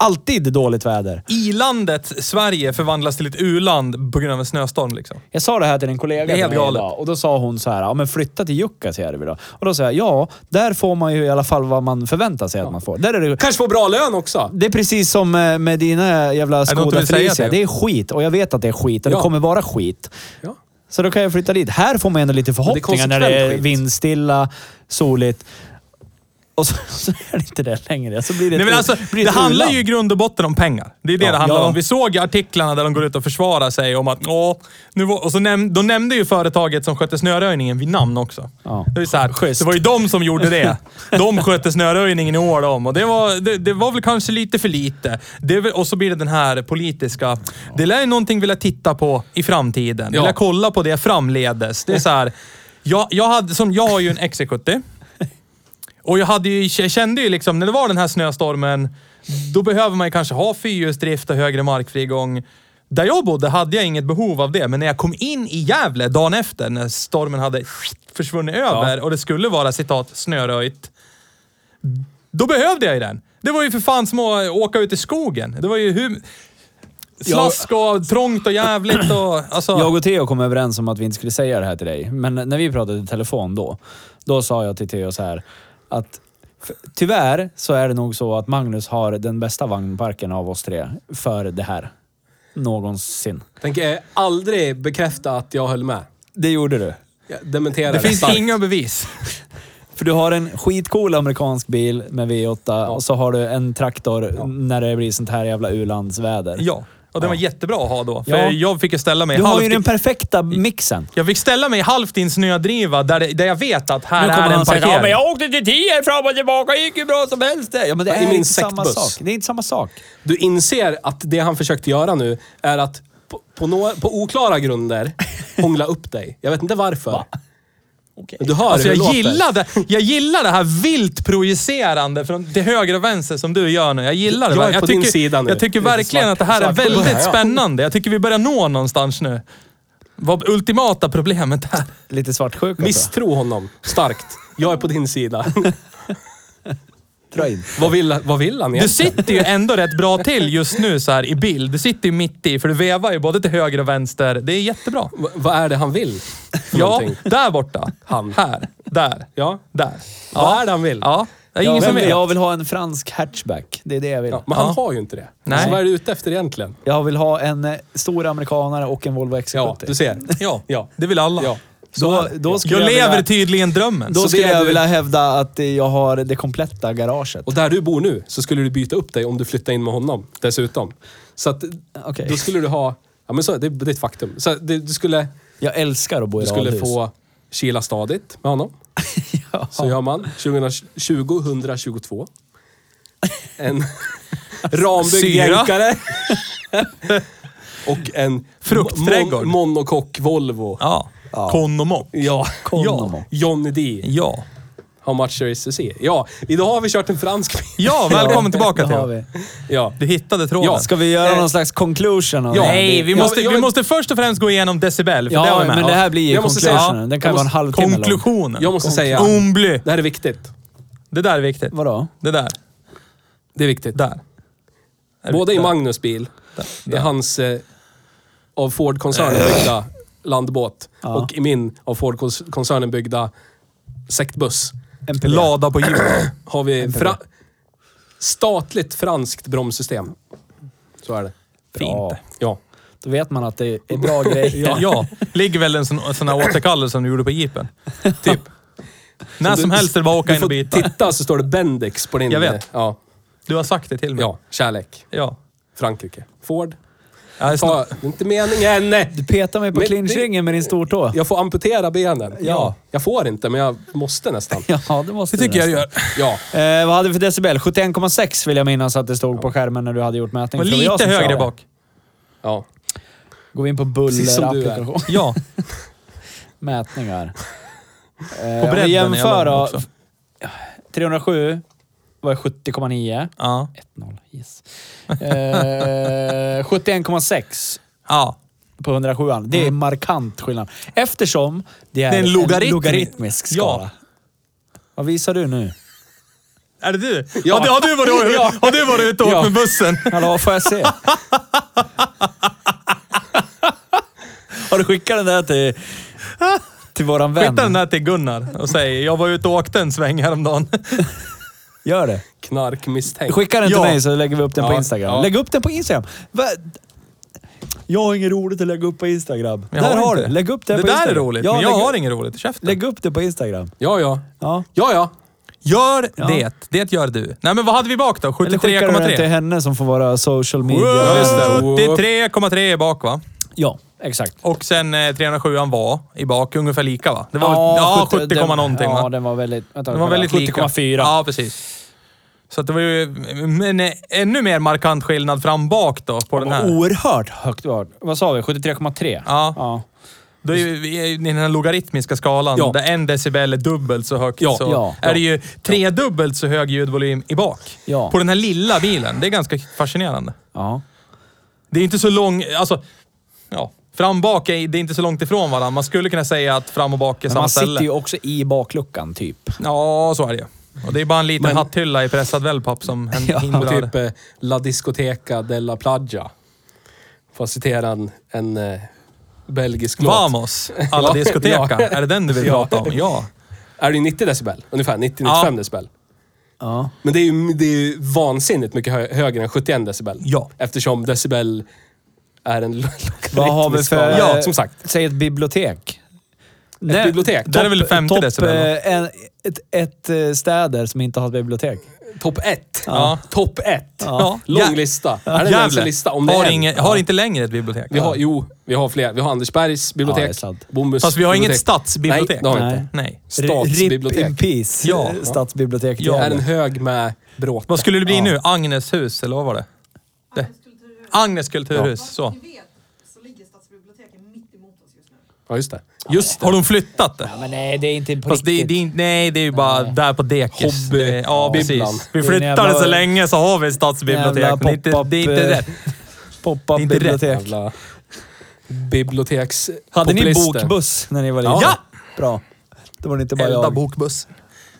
C: alltid dåligt väder.
A: i-landet Sverige förvandlas till ett u-land på grund av en snöstorm. Liksom.
C: Jag sa det här till en kollega
A: Det är helt
C: till mig
A: galet.
C: idag och då sa hon så här, ja men flytta till Jukkasjärvi då. Och då sa jag, ja, där får man ju i alla fall vad man förväntar sig att man får. Där är det
E: Kanske får bra lön också.
C: Det är precis som eh, med dina jävla
A: något du
C: Skoda
A: vill säga
C: Felicia.
A: till?
C: Det är skit och jag vet att det är skit och
E: Ja.
C: det kommer vara skit.
E: Ja.
C: Så då kan jag flytta dit. Här får man ändå lite förhoppningar när det är
E: konsekvent skit.
C: vindstilla, soligt. Och så, så är det inte det längre. Så blir det
A: Nej, men
C: ett-
A: alltså,
C: blir
A: det
C: ett
A: handlar
C: u-land.
A: ju i grund och botten om pengar. Det är det
C: Ja,
A: det handlar
C: ja.
A: om. Vi såg ju artiklarna där de går ut och försvarar sig om att åh, nu var, och så näm, de nämnde ju företaget som skötte snöröjningen vid namn också.
C: Ja.
A: Det, var ju så här,
C: Schysst.
A: det var ju de som gjorde det. De skötte snöröjningen i år om och det var, det, det var väl kanske lite för lite. Det är väl, och så blir det den här politiska. Det lär ju någonting vilja titta på i framtiden.
E: Ja.
A: Vilja kolla på det framledes. Det är så här, jag, jag, hade, som, jag har ju en XC70. Och jag hade ju, jag kände ju liksom, när det var den här snöstormen, då behöver man ju kanske ha fyrhjulsdrift och högre markfrigång. Där jag bodde hade jag inget behov av det, men när jag kom in i Gävle dagen efter, när stormen hade försvunnit över och det skulle vara citat snöröjt, då behövde jag ju den. Det var ju för fan som att åka ut i skogen. Det var ju hur... Slask och trångt och jävligt och... Alltså,
C: Jag och Theo kom överens om att vi inte skulle säga det här till dig, men när vi pratade i telefon då, då sa jag till Theo så här att för, tyvärr så är det nog så att Magnus har den bästa vagnparken av oss tre för det här. Någonsin.
E: Tänker eh, aldrig bekräfta att jag höll med.
C: Det gjorde du.
E: Jag dementerar
A: det finns
E: starkt.
A: inga bevis.
C: För du har en skitcool amerikansk bil med V8 och så har du en traktor när det blir sånt här jävla u-landsväder.
A: Ja. Och den var
C: Ja.
A: jättebra att ha då. För
C: Ja.
A: jag fick ju ställa mig
C: Du har ju
A: halvt i-
C: den perfekta mixen.
A: Jag fick ställa mig halvt i en snödriva där, det, där jag vet att här är en parkering.
C: åkte till tio fram och tillbaka, gick ju bra som helst det. Ja, men det
E: I
C: är
E: min
C: inte samma
E: sektbuss.
C: sak. Det är inte samma sak.
E: Du inser att det han försökte göra nu är att på, på, nå- på oklara grunder hångla upp dig. Jag vet inte varför. Men Du hör
A: Alltså
E: hur det
A: jag,
E: låter.
A: gillar det, jag gillar det här vilt projicerande från, till höger och vänster som du gör nu. Jag gillar det.
E: Jag är
A: verkligen.
E: på
A: tycker,
E: din sida nu.
A: Jag tycker
E: Det är
A: verkligen
E: svart-
A: att det här är
E: svart på det
A: väldigt
E: här, ja.
A: spännande. Jag tycker vi börjar nå någonstans nu. Vad ultimata problemet är.
C: Lite svartsjuk också.
E: Misstro honom starkt. Jag är på din sida.
C: Dra in.
E: vad, vill, vad vill han
A: Du
E: egentligen?
A: sitter ju ändå rätt bra till just nu så här i bild. Du sitter ju mitt i, för du vevar ju både till höger och vänster. Det är jättebra.
E: Va- vad är det han vill? för
A: Ja,
E: någonting?
A: där borta.
E: Han.
A: Här. Där.
E: Ja.
A: Där.
E: Vad är det han vill?
A: Ja. Det är ingen
C: Jag,
A: som
C: vill,
A: vet.
C: jag vill ha en fransk hatchback. Det är det jag vill.
E: Ja, men han har ju inte det.
A: Nej.
E: Så vad är du ute efter egentligen?
C: Jag vill ha en eh, stor amerikanare och en Volvo XC70.
E: Ja, du ser.
A: Ja,
E: Ja.
A: det vill alla.
E: Ja.
C: Då, då skulle
A: Jag
C: jag,
A: lever
C: vilja,
A: tydligen drömmen.
C: då
E: Så
C: skulle
E: det är
C: jag
E: du-
C: vilja hävda att eh, jag har det kompletta garaget.
E: Och där du bor nu så skulle du byta upp dig om du flyttade in med honom dessutom. Så att
C: Okej.
E: då skulle du ha... Ja, men så, det, det är ett faktum. Så att du, du skulle,
C: Jag älskar att bo i
E: du skulle
C: radhus.
E: få kila stadigt med honom. Så gör man 2020, 122. En rambyggd
A: Syra.
E: jänkare. Och en
A: Fruktträdgård.
E: mon- monokock Volvo.
A: Ja. Konomo.
E: Ja.
C: Konomo.
E: Johnny D.
A: Ja.
E: How much there is to see. Ja, idag har vi kört en fransk bil.
A: Ja, välkommen tillbaka
C: det har
A: till.
C: vi.
E: Ja.
A: Du hittade tråden.
E: Ja,
C: Ska vi göra
E: Eh,
C: någon slags conclusion av
E: ja.
C: det? här?
A: Nej, vi måste,
E: Jag- jag-
A: vi måste först och främst gå igenom decibel. För det har
C: Ja,
A: vi med.
C: men det här blir ju
E: Jag måste säga-
C: conclusionen. Den kan
E: jag
C: vara en
E: måste-
C: halvtimme lång.
A: Konklusionen.
E: Jag måste säga-
A: Ombly.
E: Det här är viktigt.
A: Det där är viktigt.
C: Vadå?
A: Det där.
E: Det är viktigt.
A: Där. Är
E: Både
A: det-
E: i
A: där. Eh.
E: Magnus bil, i hans eh, av Ford-koncernen byggda landbåt
C: Ja.
E: och i min av Ford-koncernen byggda sektbuss
C: MPV.
A: Lada på hjul.
E: har vi
C: MPV.
E: fra- statligt franskt bromssystem. Så är det.
C: Bra.
A: Fint.
E: Ja.
C: Då vet man att det är bra grejer.
A: Ja. ja. Ligger väl en sån, sån här återkallelse som du gjorde på jeepen. Typ. När
E: du-
A: som helst är det bara att åka
E: Du
A: in och
E: får
A: byta.
E: titta så står det Bendix på din... eh,
A: Jag vet. Mm.
E: Ja,
A: Du har sagt det till mig.
E: ja kärlek.
A: Ja.
E: Frankrike. Ford.
A: Ja, det är
E: Ta,
A: snart-
E: det är inte meningen!
C: Du petar mig på
E: Men
C: clinchringen med din stortå.
E: Jag får amputera benen.
C: Ja.
E: Jag får inte, men jag måste nästan.
C: Ja, det måste
A: Det tycker jag
C: nästan.
A: du gör.
E: Ja.
C: Eh, vad hade vi för decibel? 71,6 vill jag minnas att det stod på skärmen när du hade gjort
A: Och
C: mätningen. Så det var jag
A: lite
C: som sa
A: högre
C: det.
A: bak.
E: ja.
C: Går vi in på
E: Precis som du är.
C: bullerapplikation.
A: Ja.
C: Mätningar. Eh,
A: På
C: Om
A: bredden är
C: vi jämför
A: jag lång
C: då.
A: också.
C: 307 var 70,9.
A: Ja.
C: 1-0, yes. Eh, 71,6
A: Ja.
C: på 107 Det är markant skillnad. Eftersom det är,
A: Mm. Det är en logaritm.
C: logaritmisk skala.
A: Ja.
C: Vad visar du nu?
A: Är det du?
E: Ja.
A: Har, du- har, du varit,
E: Ja.
A: har du varit ute och åkt
E: Ja.
A: med bussen?
C: Hallå, får jag se? Har du skickat den där till, till våran vän?
A: Skicka den här till Gunnar och säg jag var ute och åkte en sväng häromdagen.
C: Gör det.
E: Knarkmisstänkt.
C: Skicka den till
A: Ja.
C: mig så lägger vi upp den på
E: Ja,
C: Instagram.
E: ja.
C: Lägg upp den på Instagram. Va? Jag har inget roligt att lägga upp på Instagram.
A: Jag
C: där
A: har
C: har du.
A: inte.
C: Lägg upp det,
A: Det
C: på
A: där är
C: Instagram.
A: roligt,
C: Ja,
A: men jag
C: lägg,
A: har inget roligt i käften.
C: lägg upp det på Instagram.
E: Ja, ja.
C: Ja.
E: Ja, ja.
A: Gör
C: Ja.
A: det. Det gör du. Nej, men vad hade vi bak då?
C: Eller skickar du den till
A: 73,3?
C: henne som får vara social media.
A: Wow,
E: just det. Wow.
A: 73,3 är bak va?
C: Ja, exakt.
A: Och sen eh, 307 var i bak ungefär lika va? Det var ja, 70,
C: den-
A: komma någonting
C: ja,
A: va?
C: den var väldigt... Vänta,
A: Det var väldigt lika.
C: 70,4.
A: Ja, precis. Så att det var ju en eh, ännu mer markant skillnad fram bak då på den här.
C: Oerhört högt var det. Vad sa vi? 73,3?
A: Ja.
C: ja.
A: Då är ju, vi är ju i den här logaritmiska skalan,
E: Ja.
A: där en decibel är dubbelt så högt,
E: Ja,
A: så
C: ja,
A: är det ju tredubbelt så hög ljudvolym i bak.
C: Ja.
A: På den här lilla bilen. Det är ganska fascinerande.
C: ja.
A: Det är inte så lång... Alltså, ja. Fram bak är, det är inte så långt ifrån varandra. Man skulle kunna säga att fram och bak är
C: Men
A: samma
C: man
A: ställe.
C: sitter ju också i bakluckan typ.
A: Ja, så är det ju. Och det är bara en liten
E: Men-
A: hatthylla i pressad wellpapp som
C: Ja,
E: Och
A: hindrar.
E: typ eh, La Discoteca della Plaggia. För att citera en, en eh, belgisk låt.
A: Vamos! Alla
E: Ja.
A: diskoteka.
E: Ja.
A: Är det den du vill
E: Ja.
A: prata om? Ja.
E: Är det ju 90 decibel? Ungefär 90-95
A: Ja.
E: decibel.
C: Ja.
E: Men det är, ju, det är ju vansinnigt mycket hö högre än 71 decibel.
A: Ja.
E: Eftersom decibel är en lo-
C: Vad har vi
E: logaritmisk
C: för...
E: skala. Ja, som sagt.
C: Säg ett bibliotek.
E: Ett bibliotek.
A: Där är
E: Topp
A: väl 50
C: topp,
A: decibel? va?
C: eh, en, ett, ett eh, städer som inte har ett bibliotek.
E: top ett.
A: Ja.
E: Topp ett.
A: Ja.
E: Lång
A: Ja.
E: lista. Är det ens
A: Gävle
E: en lista? Om det
A: har,
E: är en.
A: inge, har inte längre ett bibliotek.
E: Vi har, jo, vi har fler. Vi har Andersbergs
C: Ja, det är
E: bibliotek.
C: sant.
E: Bombus
A: Fast vi har inget
E: bibliotek.
A: stadsbibliotek.
E: Nej, det har vi inte.
A: Nej.
E: Stadsbibliotek.
C: Rip in peace.
A: Ja.
C: Eh, Stadsbiblioteket.
E: Det är
C: i
E: en
C: Gävle.
E: hög med bråte.
A: Vad skulle det bli nu? Agnes hus, eller vad var det?
D: Agnes kulturhus.
A: Agnes kulturhus.
D: Vad
A: Så.
D: ni vet så ligger stadsbiblioteken mitt emot oss just nu.
E: Ja, just det. Just
A: Har de flyttat det?
C: Men nej, det är inte på
A: Fast det,
C: riktigt.
A: det, är inte- nej, det är ju bara där på dekis.
E: Hobby-
A: Det- Ja,
E: bibblan.
A: precis. Vi
C: Det är en
A: flyttade
C: jävla-
A: så länge så har vi ett stadsbibliotek.
C: jävla
A: men Det är inte,
C: pop-up,
A: det är inte
C: eh,
A: rätt.
C: Poppa
A: Det är inte rätt.
C: bibliotek.
E: Jävla biblioteks...
C: Hade ni
E: populister.
C: bokbuss när ni var liten?
A: Ja!
C: Bra. Då var det inte bara
A: Elda
C: jag.
A: bokbuss.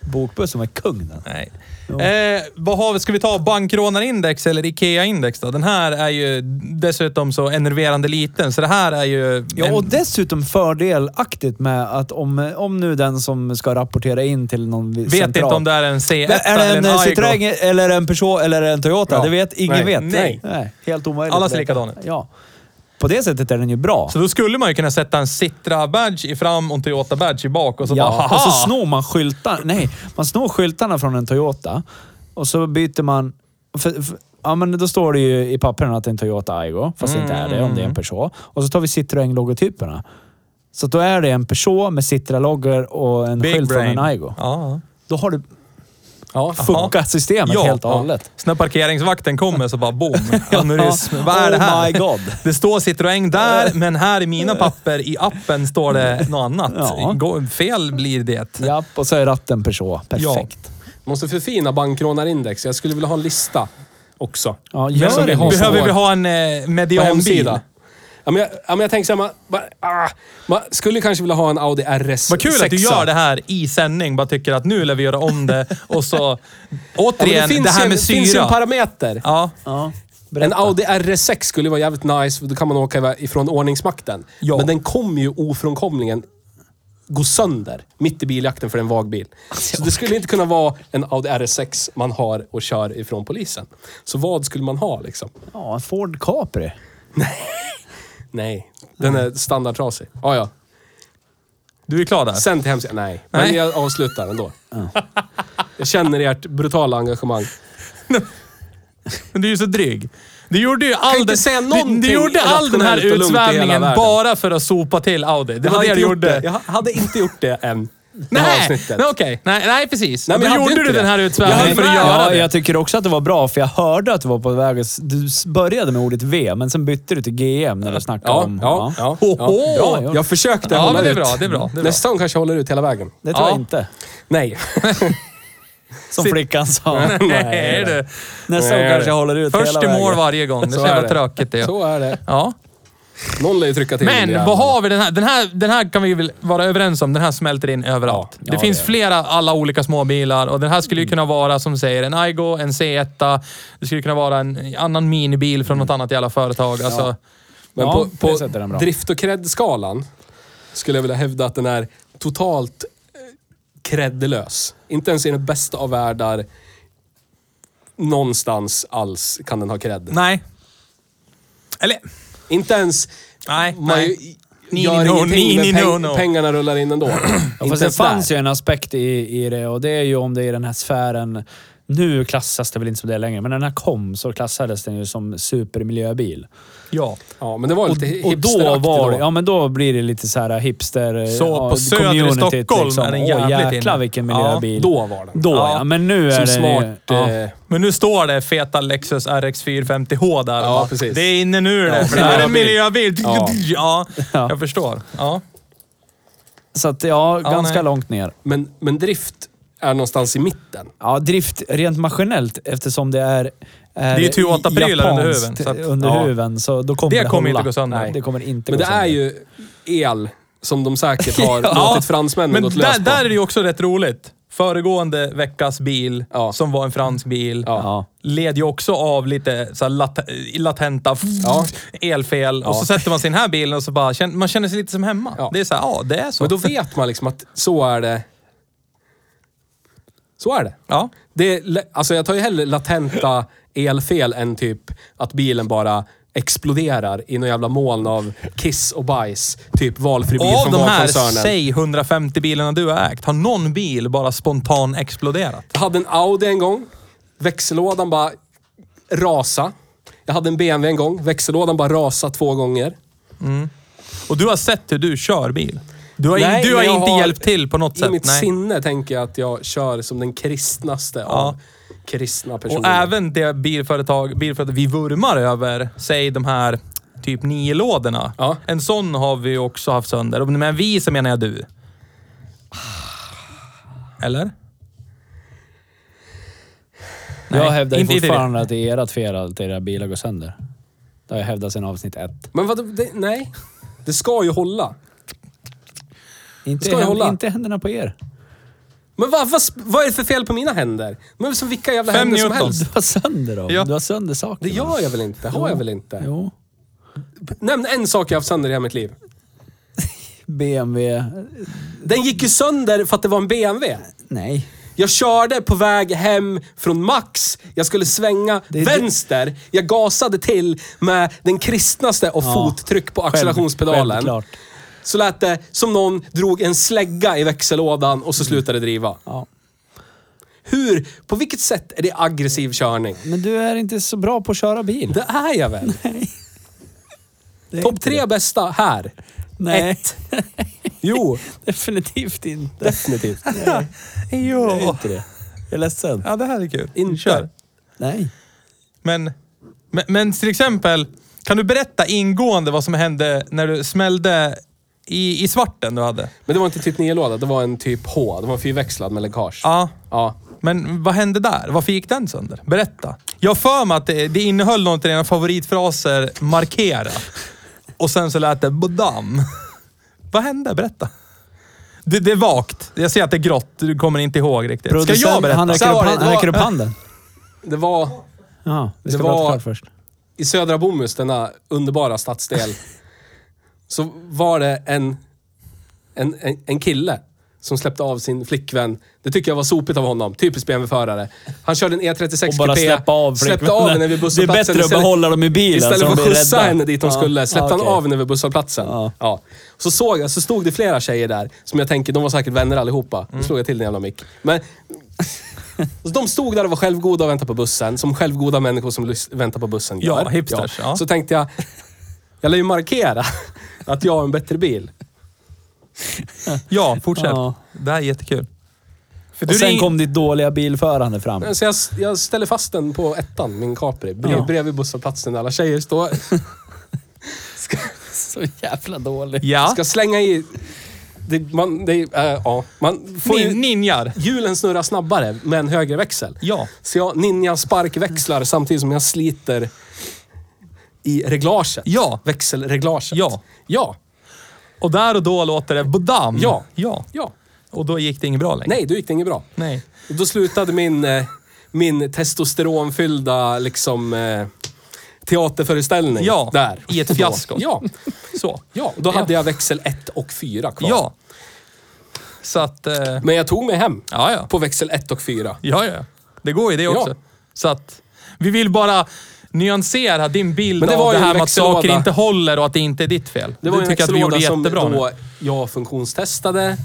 C: Bokbuss som är kung den.
A: Nej. Eh, vad har vi? Ska vi ta bankrånarindex eller IKEA-index då? Den här är ju dessutom så enerverande liten, så det här är ju...
C: Ja,
A: en-
C: och dessutom fördelaktigt med att om, om nu den som ska rapportera in till någon
A: vet
C: vet central,
A: inte om det är en C1
C: är det en,
A: eller en Aigo.
C: Citroën eller en Peugeot eller en Toyota?
E: Ja.
C: Det vet ingen
E: Nej.
C: vet.
E: Nej.
C: Nej. Helt omöjligt.
A: Alla
C: att
A: ser
C: veta.
A: likadana ut.
C: Ja. På det sättet är den ju bra.
A: Så då skulle man ju kunna sätta en Citra-badge i fram och en Toyota-badge i bak och så bara
C: Ja,
A: haha!
C: och så snor man skyltarna. Nej, man snor skyltarna från en Toyota och så byter man... För, för, ja, men då står det ju i pappren att det är en Toyota Aigo, fast det
A: Mm,
C: inte är det om det är en Peugeot. Och så tar vi Citroën-logotyperna. Så då är det en Peugeot med Citra-loggor och en
A: Big
C: skylt
A: brain.
C: från en Aigo.
A: Ja.
C: Då har du
E: Ja,
C: fuckat systemet
A: Ja,
C: helt och
A: ja.
C: hållet.
A: Så när parkeringsvakten kommer så bara boom, aneurism. Vad är det
C: Oh
A: här?
C: my God.
A: Det står Citroën där, men här i mina papper i appen står det något annat.
C: Ja.
A: Gå- Fel blir det.
C: Japp, och så är ratten Peugeot. Perfekt.
E: Måste förfina bankrånarindex. Jag skulle vilja ha en lista också.
C: Ja,
E: Men som
C: gör
E: vi
C: det.
E: har
C: Behöver...
A: Behöver vi ha en eh,
E: På
A: medianbil?
E: hemsida. Ja, men jag, ja, men jag tänker så här, man, man, ah, man skulle kanske vilja ha en Audi RS
A: Vad kul att du gör det här i sändning. Bara tycker att nu lär vi göra om det. Och så
E: Ja, men
A: återigen, det,
E: finns ju
A: här
E: en-
A: med
E: Det finns ju
A: syra.
E: en parameter.
A: Ja.
C: Ja,
E: En
C: berätta.
E: Audi RS6 skulle vara jävligt nice, för då kan man åka iväg ifrån ordningsmakten.
A: Ja.
E: Men den kommer ju ofrånkomligen gå sönder mitt i biljakten för en vag bil. Så det skulle Alltså, inte kunna vara en Audi RS6 man har och kör ifrån polisen. Så vad skulle man ha liksom?
C: ja, en Ford Capri.
E: Nej, den är standardtrasig. Ah, ja.
A: Du är klar där?
E: Sen till hemsidan. Nej, men
A: Nej.
E: jag avslutar ändå. Jag känner ert brutala engagemang.
A: Men du är ju så dryg. Du gjorde ju all,
E: inte
A: den-
E: säga
A: du,
E: någonting
A: du gjorde all den här
E: rationellt och lugnt i hela
A: utsvävningen
E: världen.
A: bara för att sopa till Audi. Det
E: Jag
A: var
E: hade
A: det du
E: inte gjort
A: gjorde.
E: det. Jag ha- hade inte gjort det än. Det här
A: Nej,
E: avsnittet.
A: nej, okej. Nej, nej, precis.
E: Nej,
A: Nej,
E: men
A: men
E: jag
A: då
E: hade
A: gjorde du
E: inte
A: den här
E: det. Jag
A: utsvävningen
E: hade
A: för att
E: med.
A: göra
C: Ja,
A: det.
C: jag tycker också att det var bra, för jag hörde att du var på väg att... Du s- började med ordet V, men sen bytte du till GM när du snackade
E: Ja,
C: om...
E: ja, ja.
A: Ho,
E: ja.
A: ho.
E: Bra gjort. Jag försökte
A: Ja,
E: hålla
A: men det är
E: ut.
A: bra, det är bra, det är bra.
E: Nästa gång kanske jag håller ut hela vägen.
C: Det tror
A: Ja.
C: jag inte.
E: Nej.
C: Som flickan sa.
A: Nej, du.
C: Nästa gång
E: Nej,
C: kanske jag
E: det.
C: håller ut
A: Först
C: hela
A: i
C: vägen.
A: mål varje gång. Det är så jävla tråkigt det.
E: Så är det.
A: Ja.
E: Någon lär ju trycka till. den
A: Men
E: jäveln.
A: vad har vi den här? Den här, den här kan vi väl vara överens om. Den här smälter in överallt.
C: Ja,
A: det
C: ja,
A: finns
C: det gör
A: flera alla olika småbilar och den här skulle ju kunna vara som du säger en Aigo, en C1. Det skulle kunna vara en annan minibil från något annat jävla företag. Alltså,
E: Men
C: Ja, på det
E: på,
C: sättet är den
E: på
C: bra.
E: drift och cred-skalan skulle jag vilja hävda att den är totalt eh, credlös. Inte ens i den bästa av världar någonstans alls kan den ha cred.
A: Nej. Eller,
E: Inte ens...
A: Nej,
E: man
A: nej.
E: Ju,
A: Ni,
E: gör
A: ni, no,
E: ingenting,
A: ni,
E: men
A: ni,
E: peng-
A: no, no.
E: pengarna rullar in ändå.
C: Ja, fast det fanns ju en aspekt i, i det och det är ju om det i den här sfären... Nu klassas det väl inte som det längre, men när den här kom så klassades den ju som supermiljöbil.
A: Ja.
E: Ja, men det var lite
C: Och då
E: hipsteraktigt
C: var det,
E: då.
C: ja men då blir det lite så här hipster... eh,
A: Så
C: ja,
A: på Söder i
C: communityt
A: Stockholm är den
C: Åh,
A: jävligt
C: jäklar
A: inne.
C: vilken
A: Ja,
C: miljöbil.
E: Då var den.
C: Då ja.
A: Ja.
C: men nu är
E: Som
C: det...
E: smart... eh,
A: Men nu står det feta Lexus RX 450H där.
E: Ja,
A: va?
E: precis.
A: Det är inne nu det. för det här är en miljöbil. Ja.
C: Ja.
A: jag förstår. Ja.
C: Så att ja,
A: Ja,
C: ganska
A: nej.
C: långt ner.
E: Men, men drift är någonstans i mitten.
C: Ja, drift rent maskinellt eftersom det är... är
A: Det är ju Toyota-prylar under
C: japanskt
A: huven, så att-
C: under
E: ja.
C: huven, så då kommer
A: Det
C: det,
A: kommer
C: hålla.
A: inte gå sönder.
C: Nej, det kommer inte
E: Men
C: gå
E: det är
C: sönder.
E: ju el som de säkert har
A: Ja.
E: låtit fransmännen
A: Men
E: gått lös
A: där,
E: på.
A: där är det ju också rätt roligt. Föregående veckas bil,
E: Ja.
A: som var en fransk bil,
C: Ja.
A: led ju också av lite så här lat latenta
E: Ja.
A: elfel. Och så sätter man sig i den här bilen och så bara, känner, man känner sig lite som hemma.
E: Ja.
A: Det är så här, ja det är så.
E: Men då vet man liksom att så är det. Så är det.
A: ja.
E: det är, le- alltså jag tar ju hellre latenta elfel än typ att bilen bara exploderar i någon jävla moln av kiss och bajs. Typ valfri bil
A: Och av
E: från
A: de här,
E: Volvo-koncernen.
A: säg 150 bilarna du har ägt, har någon bil bara spontan exploderat?
E: Jag hade en Audi en gång. Växellådan bara rasa. Jag hade en BMW en gång. Växellådan bara rasa två gånger.
A: Och du har sett hur du kör bil. Du har, in,
E: Nej,
A: du har
E: men jag
A: inte
E: har-
A: hjälpt till på något
E: I
A: sätt.
E: mitt
A: nej.
E: sinne tänker jag att jag kör som den kristnaste av kristna personer.
A: Och även det bilföretag, bilföretag vi vurmar över, säg de här typ nio lådorna.
E: Ja.
A: En sån har vi också haft sönder. Och med vi så menar jag du. Eller?
C: jag
A: Nej,
C: hävdar ju
A: inte- inte det.
C: fortfarande att det är ert fel att era bilar går sönder. Det har jag hävdat sedan avsnitt ett.
E: Men vadå? Det, nej. Det ska ju hålla.
C: Inte,
E: Ska jag
C: hän-
E: hålla?
C: inte händerna på er.
E: Men vad, vad, vad är det för fel på mina händer? De är väl som vilka jävla
A: Fem
E: händer som
A: Newton.
E: helst.
C: Du har sönder dem.
A: Ja.
C: Du har sönder saker.
E: Det gör jag väl inte? Har jag väl inte?
C: Jo.
E: Nämn en sak jag haft sönder i hela mitt liv.
C: BMW...
E: Den gick ju sönder för att det var en BMW.
C: Nej.
E: Jag körde på väg hem från Max. Jag skulle svänga
C: Det är det-
E: vänster. Jag gasade till med den kristnaste och
C: Ja.
E: fottryck på
C: Själv-
E: accelerationspedalen.
C: Självklart.
E: så lät det som någon drog en slägga i växellådan
C: Mm.
E: och så slutade driva.
C: Ja.
E: Hur? På vilket sätt är det aggressiv körning?
C: Men du är inte så bra på att köra bil.
E: Det är jag väl?
C: Det är
E: Topp
C: inte
E: tre bästa här.
C: Nej.
E: Ett. Jo,
C: Definitivt inte.
E: definitivt.
C: Det är
A: Jo.
C: inte det. Jag är ledsen.
A: Ja, det här är kul.
E: Inte.
A: Kör.
C: Nej.
A: Men, men, men till exempel, kan du berätta ingående vad som hände när du smällde i, i svarten du hade?
E: Men det var inte typ 9-låda, det var en typ H. Det var en fyrväxlad med läckage.
A: Ja.
E: Ja.
A: Men vad hände där? Varför gick den sönder? Berätta. Jag har för mig att det, det innehöll någon av dina favoritfraser, markera. Och sen så lät det badam. Vad hände? Berätta. Det, det är vagt. Jag ser att det är grått. Du kommer inte ihåg riktigt. Ska jag
C: Producent-
A: berätta?
C: Han
A: Så
C: räcker
A: här
C: upp,
A: var det.
C: han, han räcker upp handen.
E: Det var
C: Jaha, vi ska
E: Det
C: prata
E: var-
C: klart först.
E: i södra Bomhus, denna underbara stadsdel, så var det en, en, en, en kille som släppte av sin flickvän. Det tycker jag var sopigt av honom. Typiskt BMW-förare. Han körde en E36
C: Och bara
E: kupé,
C: släppa av
E: släppte av henne vid
C: Det är
E: busshållplatsen.
C: bättre att
E: istället-
C: behålla dem i bilen så
E: Istället för
C: de
E: att
C: blir
E: skjutsa
C: rädda.
E: henne dit hon
C: Ja.
E: skulle släppte
C: Ja,
E: han
C: okej.
E: av henne vid busshållplatsen.
C: Ja.
E: Ja. Så såg jag, så stod det flera tjejer där som jag tänker, de var säkert vänner allihopa.
C: Mm.
E: Nu slog jag till den jävla mick. Men så de stod där och var självgoda och väntade på bussen, som självgoda människor som lys- väntar på bussen gör.
A: Ja, hipsters, ja.
E: Så tänkte jag, jag lär ju markera att jag har en bättre bil.
A: Ja, fortsätt.
C: Ja.
A: Det här är jättekul. För
C: Och sen
A: ring-
C: kom ditt dåliga bilförande fram.
E: Så jag, jag ställer fast den på ettan, min Capri, brev,
C: Ja.
E: bredvid busshållplatsen där alla tjejer står.
C: Så jävla dåligt.
A: Ja.
E: Ska slänga i... Det, man, det, äh, ja. man får ju,
A: Nin, ninjar.
E: hjulen snurrar snabbare med en högre växel.
A: Ja.
E: Så jag ninja sparkväxlar samtidigt som jag sliter i reglaget.
A: Ja.
E: Växelreglaget.
A: Ja.
E: Ja.
A: Och där och då låter det badam.
E: Ja.
A: ja.
E: Ja.
A: Och då gick det inget bra längre.
E: Nej, då gick det inget bra.
A: Nej.
E: Och Då slutade min, eh, min testosteronfyllda liksom, eh, teaterföreställning
A: Ja,
E: där.
A: i ett fiasko.
E: Då. Ja,
A: Så.
E: ja. Och då hade jag växel 1 och 4 kvar.
A: Ja. Så att... Eh,
E: Men jag tog mig hem
A: ja, ja.
E: på växel 1 och 4.
A: Ja, ja. Det går ju det också.
E: Ja.
A: Så att vi vill bara nyansera din bild
E: Men det
A: av
E: var
A: det
E: ju
A: här
E: en
A: med att saker
E: växellåda.
A: inte håller och att det inte är ditt fel.
E: Det var
A: du
E: en
A: tycker att vi gjorde
E: växellåda som
A: jättebra nu.
E: då jag funktionstestade.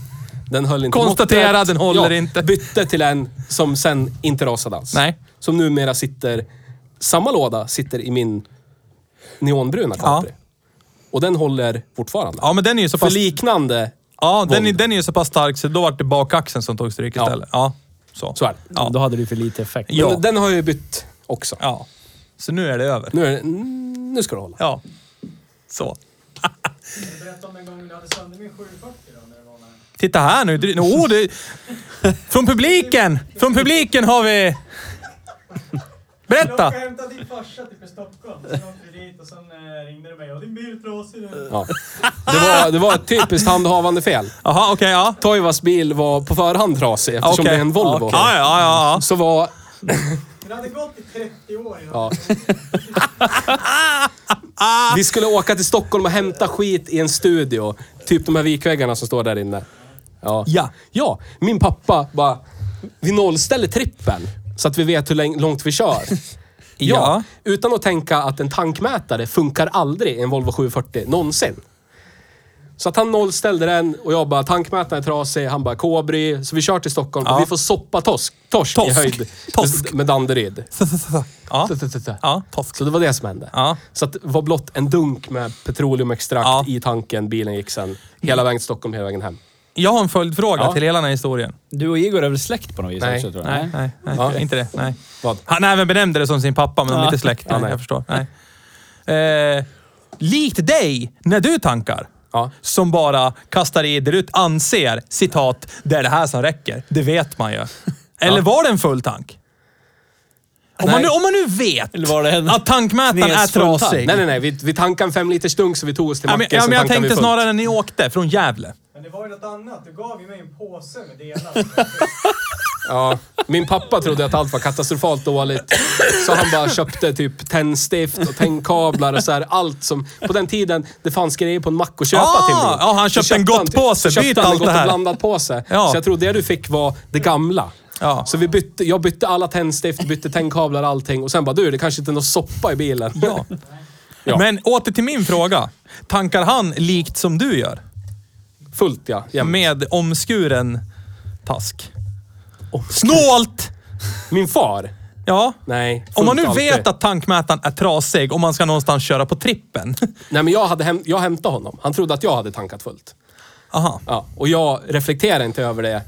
E: Den höll inte
A: Konstatera,
E: måttet.
A: den håller inte.
E: Bytte till en som sen inte rasade alls.
A: Nej.
E: Som numera sitter... Samma låda sitter i min neonbruna Capri. Och den håller fortfarande.
A: Ja, men den är ju så
E: För
A: pass...
E: liknande...
A: Ja, den är,
E: Volvo.
A: den är ju så pass stark så då var det bakaxeln som tog stryk istället. Ja. så.
E: Så är det.
A: Ja.
C: Då hade du för lite effekt.
A: Ja.
E: Men Den har jag ju bytt också.
A: ja. Så nu är det över.
E: Nu, är det, mm, nu ska det hålla.
A: Ja. Så.
F: Berätta om den gången du hade sönder min 740 då, när det var med.
A: Titta här nu. dry- Åh, det... Från publiken! Från publiken har vi...
F: Jag
A: Berätta!
F: åkte och hämtade din farsa typ i Stockholm. Sen åkte vi dit och sen eh, ringde du mig. Och din bil är trasig nu.
E: Ja. Det, var, det var ett typiskt handhavande fel.
A: Jaha, okej, ja.
E: Toivas bil var på förhand trasig eftersom
A: Okej.
E: det är en Volvo.
A: Ja, ja, ja. ja.
E: Så var...
F: Den hade gått i 30 år innan.
E: Ja. Vi skulle åka till Stockholm och hämta skit i en studio. Typ de här vikväggarna som står där inne. Ja.
A: Ja.
E: Ja, min pappa bara... Vi nollställer trippen så att vi vet hur läng- långt vi kör.
A: Ja.
E: Utan att tänka att en tankmätare funkar aldrig i en Volvo 740 någonsin. Så att han nollställde den och jag bara, tankmätaren är trasig. Han bara, kobry. Så vi kör till Stockholm
A: Ja.
E: och vi får soppa torsk, torsk,
A: Torsk.
E: i höjd
A: Torsk.
E: med Danderyd.
A: Ja. Ja,
E: Så det var det som hände.
A: Ja.
E: Så att det var blott en dunk med petroleumextrakt
A: Ja.
E: i tanken. Bilen gick sen hela vägen till Stockholm, hela vägen hem.
A: Jag har en följdfråga
E: Ja.
A: till hela den här historien.
C: Du och Igor är väl släkt på något vis
E: Nej.
C: också tror jag?
A: Nej, nej, nej.
E: Ja.
A: Inte det. Nej.
E: Vad?
A: Han även benämnde det som sin pappa, men de är
C: Ja.
A: inte släkt. Nej,
E: Ja, nej.
A: Jag förstår. Nej. Eh, likt dig, när du tankar,
E: Ja.
A: som bara kastar i det du anser, citat, det är det här som räcker. Det vet man ju. Eller var det en full tank? Om man,
E: Nej.
A: nu, om man nu vet
C: Eller var det en
A: att tankmätaren är
C: knesfull tank?
A: trasig.
E: Nej, nej, nej. Vi, vi tankade en fem liters dunk så vi tog oss till
A: Ja, men,
E: macken.
A: ja,
E: så
A: men jag
E: tankade vi
A: tänkte
E: fullt.
A: snarare när ni åkte från Gävle.
F: Men det var ju något annat. Du gav ju mig en påse med delar.
E: Ja. Min pappa trodde att allt var katastrofalt dåligt. Så han bara köpte typ tändstift och tändkablar och så här. Allt som... På den tiden, det fanns grejer på en mack att köpa
A: Ah,
E: till mig.
A: ja, han
E: Så
A: köpte en
E: han-
A: gottpåse.
E: så köpte
A: Byt
E: han en
A: allt det
E: gott och
A: här.
E: blandat påse.
A: Ja.
E: Så jag tror det du fick var det gamla.
A: Ja.
E: Så vi bytte, jag bytte alla tändstift, bytte tändkablar och allting. Och sen bara, du det kanske inte är någon soppa i bilen.
A: Ja.
E: Ja.
A: Men åter till min fråga. Tankar han likt som du gör?
E: Fullt ja. Jämt.
A: Med omskuren task? Snålt!
E: Min far?
A: Ja.
E: Nej. fullt
A: Om man nu
E: alltid.
A: vet att tankmätaren är trasig och man ska någonstans köra på trippen.
E: Nej men jag, hade häm- jag hämtade honom. Han trodde att jag hade tankat fullt.
A: Aha.
E: Ja, och jag reflekterade inte över det.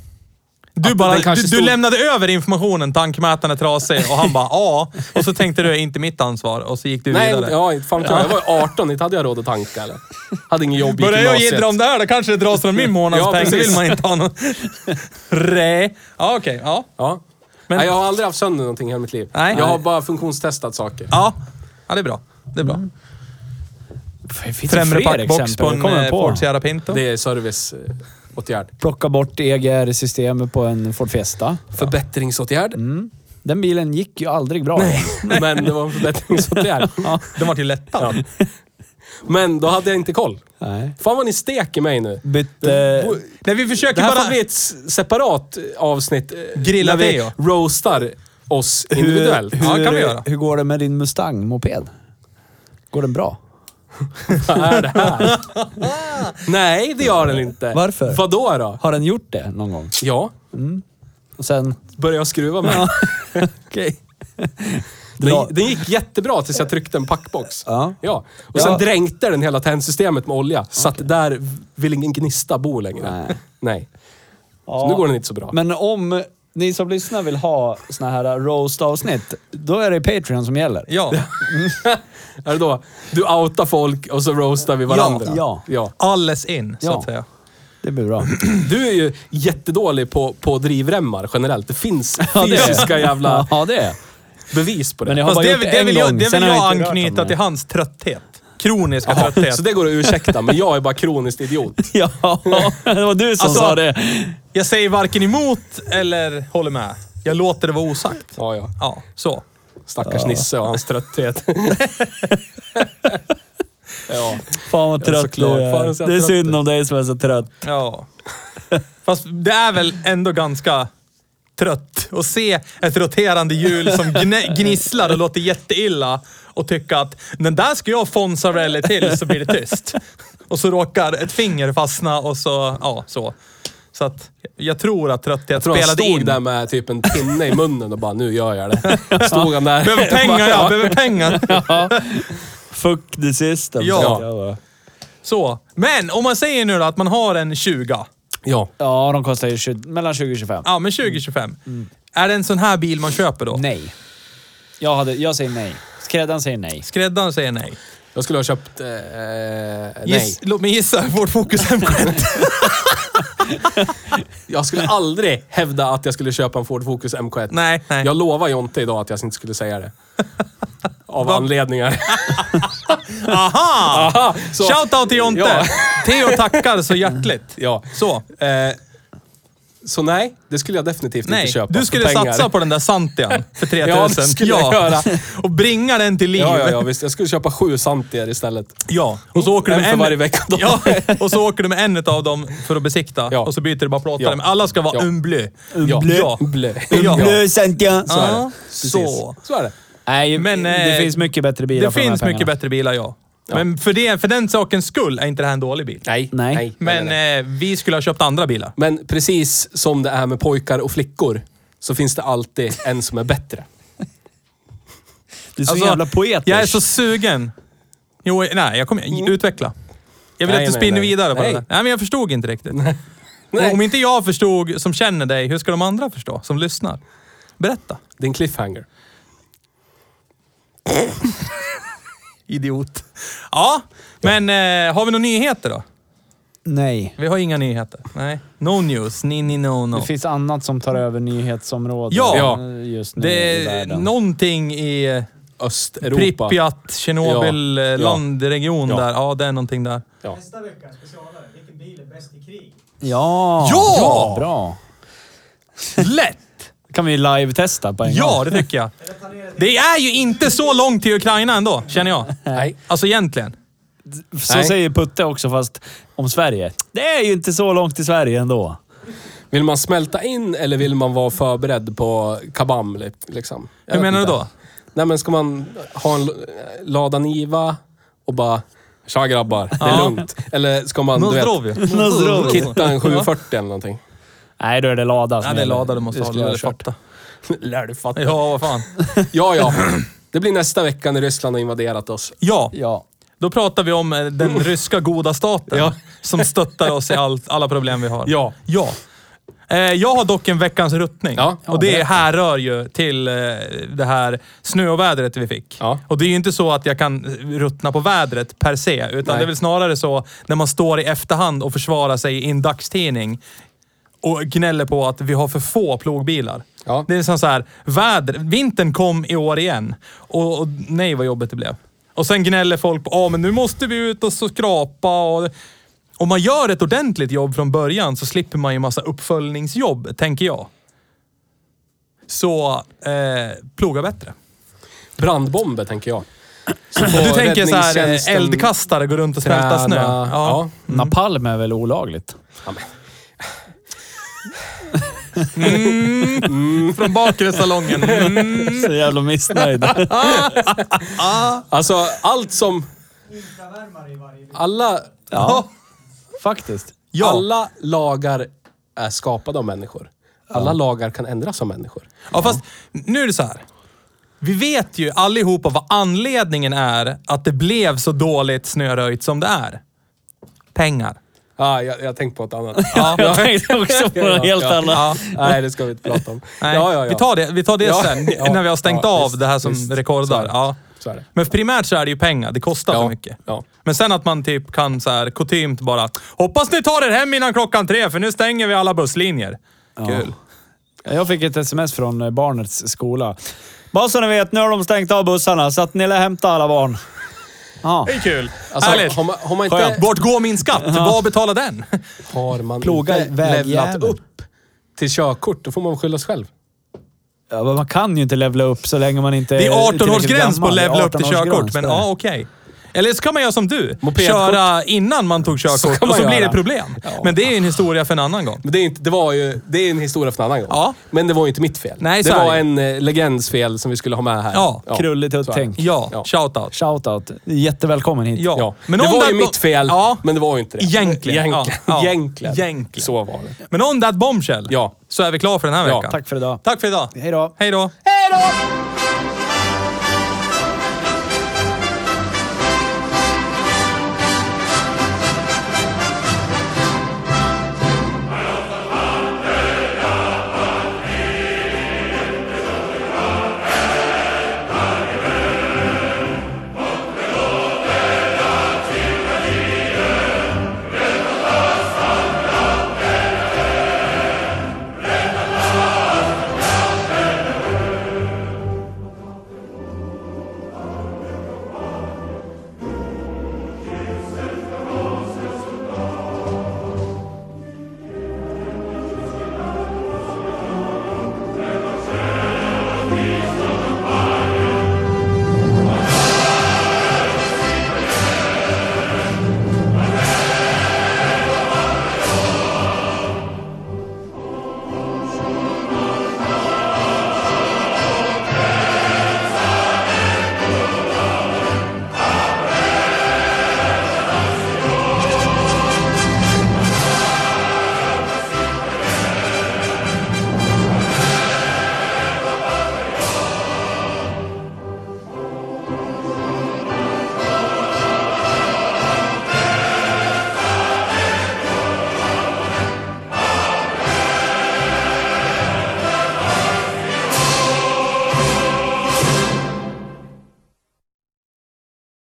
A: Du,
E: Att
A: bara,
E: den
A: du,
E: kanske
A: du
E: stod-
A: lämnade över informationen, tankmätaren är trasig och han bara ja. Och så tänkte du, inte mitt ansvar. Och så gick du
E: Nej,
A: vidare.
E: inte- ja, inte fan vet jag. Jag var ju 18, inte hade jag råd att tanka eller. Hade ingen jobb, gick
A: Börjar jag
E: gymnasiet.
A: jiddra om det här då kanske det dras från min månadspeng.
E: Ja,
A: så
E: precis.
A: vill man inte ha någon... Rä. Ja, okej. Ja.
E: Ja.
A: Men-
E: Nej, jag har aldrig haft sönder någonting i hela mitt liv.
A: Nej.
E: Jag har bara funktionstestat saker.
A: ja. Ja, det är bra. Det är bra.
C: Finns det
A: Främre
C: fler
A: packbox
C: exempel?
A: på
C: Jag
A: en
C: kommer
A: eh, Ford Sierra Pinto.
E: Det är serviceåtgärd.
C: Plocka bort E EGR-systemet på en Ford Fiesta.
E: Förbättringsåtgärd.
C: Den bilen gick ju aldrig bra.
E: Mm. Men det var en förbättringsåtgärd.
A: Den var till lättare.
E: Men då hade jag inte koll.
C: Nej. Eh,
E: Fan vad ni steker mig nu.
C: Bytte...
A: Nej, vi försöker
E: Det här
A: bara...
E: får bli ett s- separat avsnitt. eh,
A: Grilla
E: där vi
A: Theo.
E: roastar oss individuellt.
A: Ja, det kan vi göra.
C: hur går det med din Mustang-moped? Går den bra?
E: Nej, det gör den inte.
C: Varför?
E: Vadå då?
C: Har den gjort det någon gång?
E: Ja,
C: Och sen...
E: började jag skruva med. den.
C: Okej.
E: Den, den gick jättebra tills jag tryckte en packbox.
C: Ja.
E: Ja. Och sen
C: Ja.
E: dränkte den hela tändsystemet med olja. Så att där vill ingen gnista bo längre.
C: Nej.
E: Nej. Så nu går den inte så bra.
C: Men om ni som lyssnar vill ha såna här roast-avsnitt, då är det Patreon som gäller.
A: Ja.
E: Är det då? Du outar folk och så roastar vi varandra.
C: ja.
E: ja.
A: Alles in, så
C: Ja.
A: att säga.
C: Det blir bra.
E: Du är ju jättedålig på, på drivremmar generellt. Det finns
C: det är-
E: fysiska jävla
C: Ja, det är
E: bevis på det.
C: Men jag har
A: Fast
C: bara
A: det,
C: gjort
A: det,
C: en
A: vill
C: gång.
A: jag, det
C: sen
A: vill
C: har
A: jag
C: inte rört
A: anknyta
C: dem
A: till
C: mer.
A: hans trötthet. Kroniska trötthet.
E: Så det går att ursäkta, men jag är bara kroniskt idiot.
C: Ja, det var du som
A: Alltså-
C: sa det.
A: Jag säger varken emot eller håller med. Jag låter det vara osagt.
E: Ja, ja.
A: Ja, så.
E: Stackars Nisse och hans trötthet. ja.
C: Fan vad trött du
E: såklart. Fan, så
C: är.
E: jag
C: Det är
E: trött
C: synd om dig som är så trött.
A: Ja. Fast det är väl ändå ganska trött och se ett roterande hjul som gne- gnisslar och låter jätteilla och tycka att den där ska jag fonsa rally till så blir det tyst. Och så råkar ett finger fastna och så, ja, så. Så att jag tror att trötthet
E: Jag tror han
A: spelade
E: stod
A: in.
E: där med typ en pinne i munnen och bara nu gör jag det. Stod han där.
A: Behöver pengar, jag behöver pengar.
C: Ja. Fuck the system.
A: Ja.
C: ja.
A: Så. Men om man säger nu då att man har en 20.
E: Ja.
C: Ja, de kostar ju 20, mellan 20 och 25.
A: Ja, men 20-25.
E: Mm.
A: Är det en sån här bil man köper då?
C: Nej. Jag, hade, jag säger nej. Skräddaren säger nej.
A: Skräddaren säger nej.
E: Jag skulle ha köpt... Eh, nej.
A: Giss, låt mig gissa, vårt fokus M7.
E: Jag skulle aldrig hävda att jag skulle köpa en Ford Focus MK1.
A: nej, nej.
E: Jag lovar Jonte idag att jag inte skulle säga det. Av
A: Va?
E: anledningar.
A: Aha!
E: Aha, så,
A: Shoutout till Jonte!
E: Ja.
A: Theo tackar så hjärtligt.
E: Ja.
A: Så.
E: Eh, så nej, det skulle jag definitivt
A: Nej,
E: inte köpa.
A: du
E: för
A: skulle
E: pengar.
A: satsa på den där Santian för 3000.
E: Ja, det skulle jag göra.
A: Och bringa den till liv.
E: Ja, ja, ja, visst. Jag skulle köpa sju Santier istället.
A: Ja, och så åker du
E: En
A: med
E: för
A: en...
E: varje vecka då.
A: Ja, och så åker du med en av dem för att besikta.
E: Ja.
A: Och så byter du bara plåtar.
E: Ja.
A: Men alla ska vara
E: Ja.
A: en blö.
E: Ja.
A: Ja.
E: Blö.
A: Ja.
C: Santian.
E: Så är det.
A: Ja,
E: Precis.
A: Så.
E: Så är det.
C: Nej,
A: Men,
C: men,
A: eh,
C: det finns mycket bättre bilar
A: Det
C: för de här
A: finns mycket
C: pengarna.
A: bättre bilar, ja. Men för, det, för den sakens skull är inte det här en dålig bil.
E: Nej.
C: Nej.
E: nej,
A: Men
E: nej.
A: Eh, vi skulle ha köpt andra bilar.
E: Men precis som det är med pojkar och flickor så finns det alltid en som är bättre.
C: Du är så
A: Alltså,
C: jävla poetisk.
A: Jag är så sugen. Jo, nej, jag kommer... Utveckla. Jag vill
E: Mm. Nej,
A: att du
E: nej,
A: spinner
E: nej.
A: vidare på
E: Nej.
A: det där. Nej, men jag förstod inte riktigt.
E: Nej.
A: Och Om inte jag förstod, som känner dig, hur ska de andra förstå, som lyssnar? Berätta.
E: Det är en cliffhanger.
A: Idiot. Ja, men eh, har vi några nyheter då?
C: Nej.
A: Vi har inga nyheter. Nej. No news. Ni, ni, no, no.
C: Det finns annat som tar över nyhetsområdet
A: Ja.
C: eh, just nu
A: Det
C: i
A: är
C: världen.
A: någonting i
E: Östeuropa.
A: Pripyat, Tjernobyl,
E: Ja.
A: eh,
E: Ja.
A: landregion
E: Ja.
A: där. Ja, det är någonting där.
F: Nästa vecka, specialare. Vilken bil är bäst i krig?
C: Ja!
A: Ja!
C: Bra.
A: Lätt!
C: kan vi live-testa på en
A: Ja,
C: gång.
A: det tycker jag.
F: Eller ta ner det till
A: Det är ju inte så långt till Ukraina ändå, känner jag.
E: Nej.
A: Alltså egentligen.
C: Så
E: Nej.
C: säger Putte också, fast om Sverige. Det är ju inte så långt till Sverige ändå.
E: Vill man smälta in eller vill man vara förberedd på kabam? li- Liksom? Jag
A: Hur
E: vet
A: menar du
E: inte.
A: då?
E: Nej, men ska man ha en l- lada Niva och bara “Tja grabbar, det är
A: Ja.
E: lugnt”? Eller ska man du vet,
A: Nozdrovje.
C: Nozdrovje.
E: kitta en 740 eller någonting?
C: Nej, då är det lada som
A: Ja, det är
C: gäller.
A: lada du måste ha.
C: skulle jag
A: Lär
C: ha
A: du
C: kört.
A: fatta.
E: Lär du fatta. Ja,
A: Ja, vad fan.
E: ja. Det blir nästa vecka när Ryssland har invaderat oss.
A: Ja,
C: Ja.
A: då pratar vi om eh, den ryska goda staten
E: Ja.
A: som stöttar oss i allt, alla problem vi har.
E: Ja.
A: Ja. Eh, Jag har dock en veckans ruttning.
E: Ja.
A: Och det härrör ju till eh, det här snöovädret vi fick.
E: Ja.
A: Och det är ju inte så att jag kan eh, ruttna på vädret per se, utan det är väl snarare så när man står i efterhand och försvarar sig i en dagstidning och gnäller på att vi har för få plogbilar.
E: Ja.
A: Det är som så här, väder, vintern kom i år igen. Och, och nej vad jobbigt det blev. Och sen gnäller folk på, ah, men nu måste vi ut och så skrapa och... Om man gör ett ordentligt jobb från början så slipper man ju massa uppföljningsjobb, tänker jag. Så, eh, ploga bättre.
E: Brandbomber, tänker jag. Så får
A: Du tänker så här, eh,
E: räddningstjänsten
A: eldkastare går runt och smälta
E: träna-
A: snö.
E: Ja.
C: Mm. Napalm är väl olagligt?
A: Från bakre salongen. Mm.
C: Så jävla missnöjd.
E: Alltså, allt som...
F: infravärmare i varje bil.
E: Alla,
C: ja, faktiskt.
A: Ja.
E: alla lagar är skapade av människor. Alla lagar kan ändras av människor.
A: Ja, fast nu är det så här. Vi vet ju allihopa vad anledningen är att det blev så dåligt snöröjt som det är. Pengar.
E: Ah, jag, jag tänkte på ett annat.
C: Jag tänkte också på något helt
E: Ja.
C: annat.
E: Nej, det ska vi inte prata om.
A: Nej,
E: Ja, ja, ja.
A: Vi tar det, vi tar det
E: Ja,
A: sen,
E: ja,
A: när vi har stängt
E: ja,
A: av
E: visst,
A: det här som
E: visst. Så är
A: rekordar.
E: det.
A: Ja.
E: Så är det.
A: Men primärt så är det ju pengar. Det kostar
E: Ja,
A: för mycket.
E: ja.
A: Men sen att man typ kan så här kutymt bara “Hoppas ni tar er hem innan klockan tre, för nu stänger vi alla busslinjer”. Kul.
C: Jag fick ett sms från eh, barnets skola. Bara så ni vet, nu har de stängt av bussarna så att ni lär hämta alla barn. Ja.
A: Det är kul.
E: Alltså,
A: Härligt.
E: har, man, har man
A: Skönt.
E: inte,
A: Vart går min skatt? Vad betalar den?
E: har man
C: Plåga
E: inte
C: vägjäveln.
E: levlat upp till körkort, då får man skylla sig själv.
C: Ja, men man kan ju inte levla upp så länge man inte
A: Det är
C: tillräckligt
A: 18-årsgräns på att
C: Eh, gammal. Det är
A: levla upp till
C: 18-årsgräns,
A: körkort, men
C: det är
A: ja,
C: det.
A: okej. Eller så kan man göra som du.
E: Mopedkort.
A: Köra innan man tog körkort
E: Så kan man
A: och så blir
E: göra.
A: det problem. Men det är ju en historia för en annan gång.
E: Men det, är inte, det var ju det är en historia för en annan gång.
A: Ja.
E: Men det var ju inte mitt fel.
A: Nej, så
E: det
A: är
E: var
A: det.
E: en eh, legends fel som vi skulle ha med här.
A: Ja,
C: Krulligt och
E: så är det.
C: tänk.
A: Ja,
E: Ja.
A: shoutout.
C: Shoutout. Jättevälkommen hit.
A: Ja.
E: Ja.
A: Men
E: Men det
A: om
E: var
A: det-
E: ju mitt fel,
A: Ja.
E: men det var ju inte det.
A: Egentligen.
E: Egentligen.
A: Ja. Ja.
E: Egentligen.
A: Egentligen.
E: Så var det.
A: Men on that bombshell
E: Ja.
A: så är vi klara för den här
E: Ja,
A: veckan.
C: Tack för idag.
A: Tack för idag.
C: Hej då.
A: Hej då.
E: Hej då!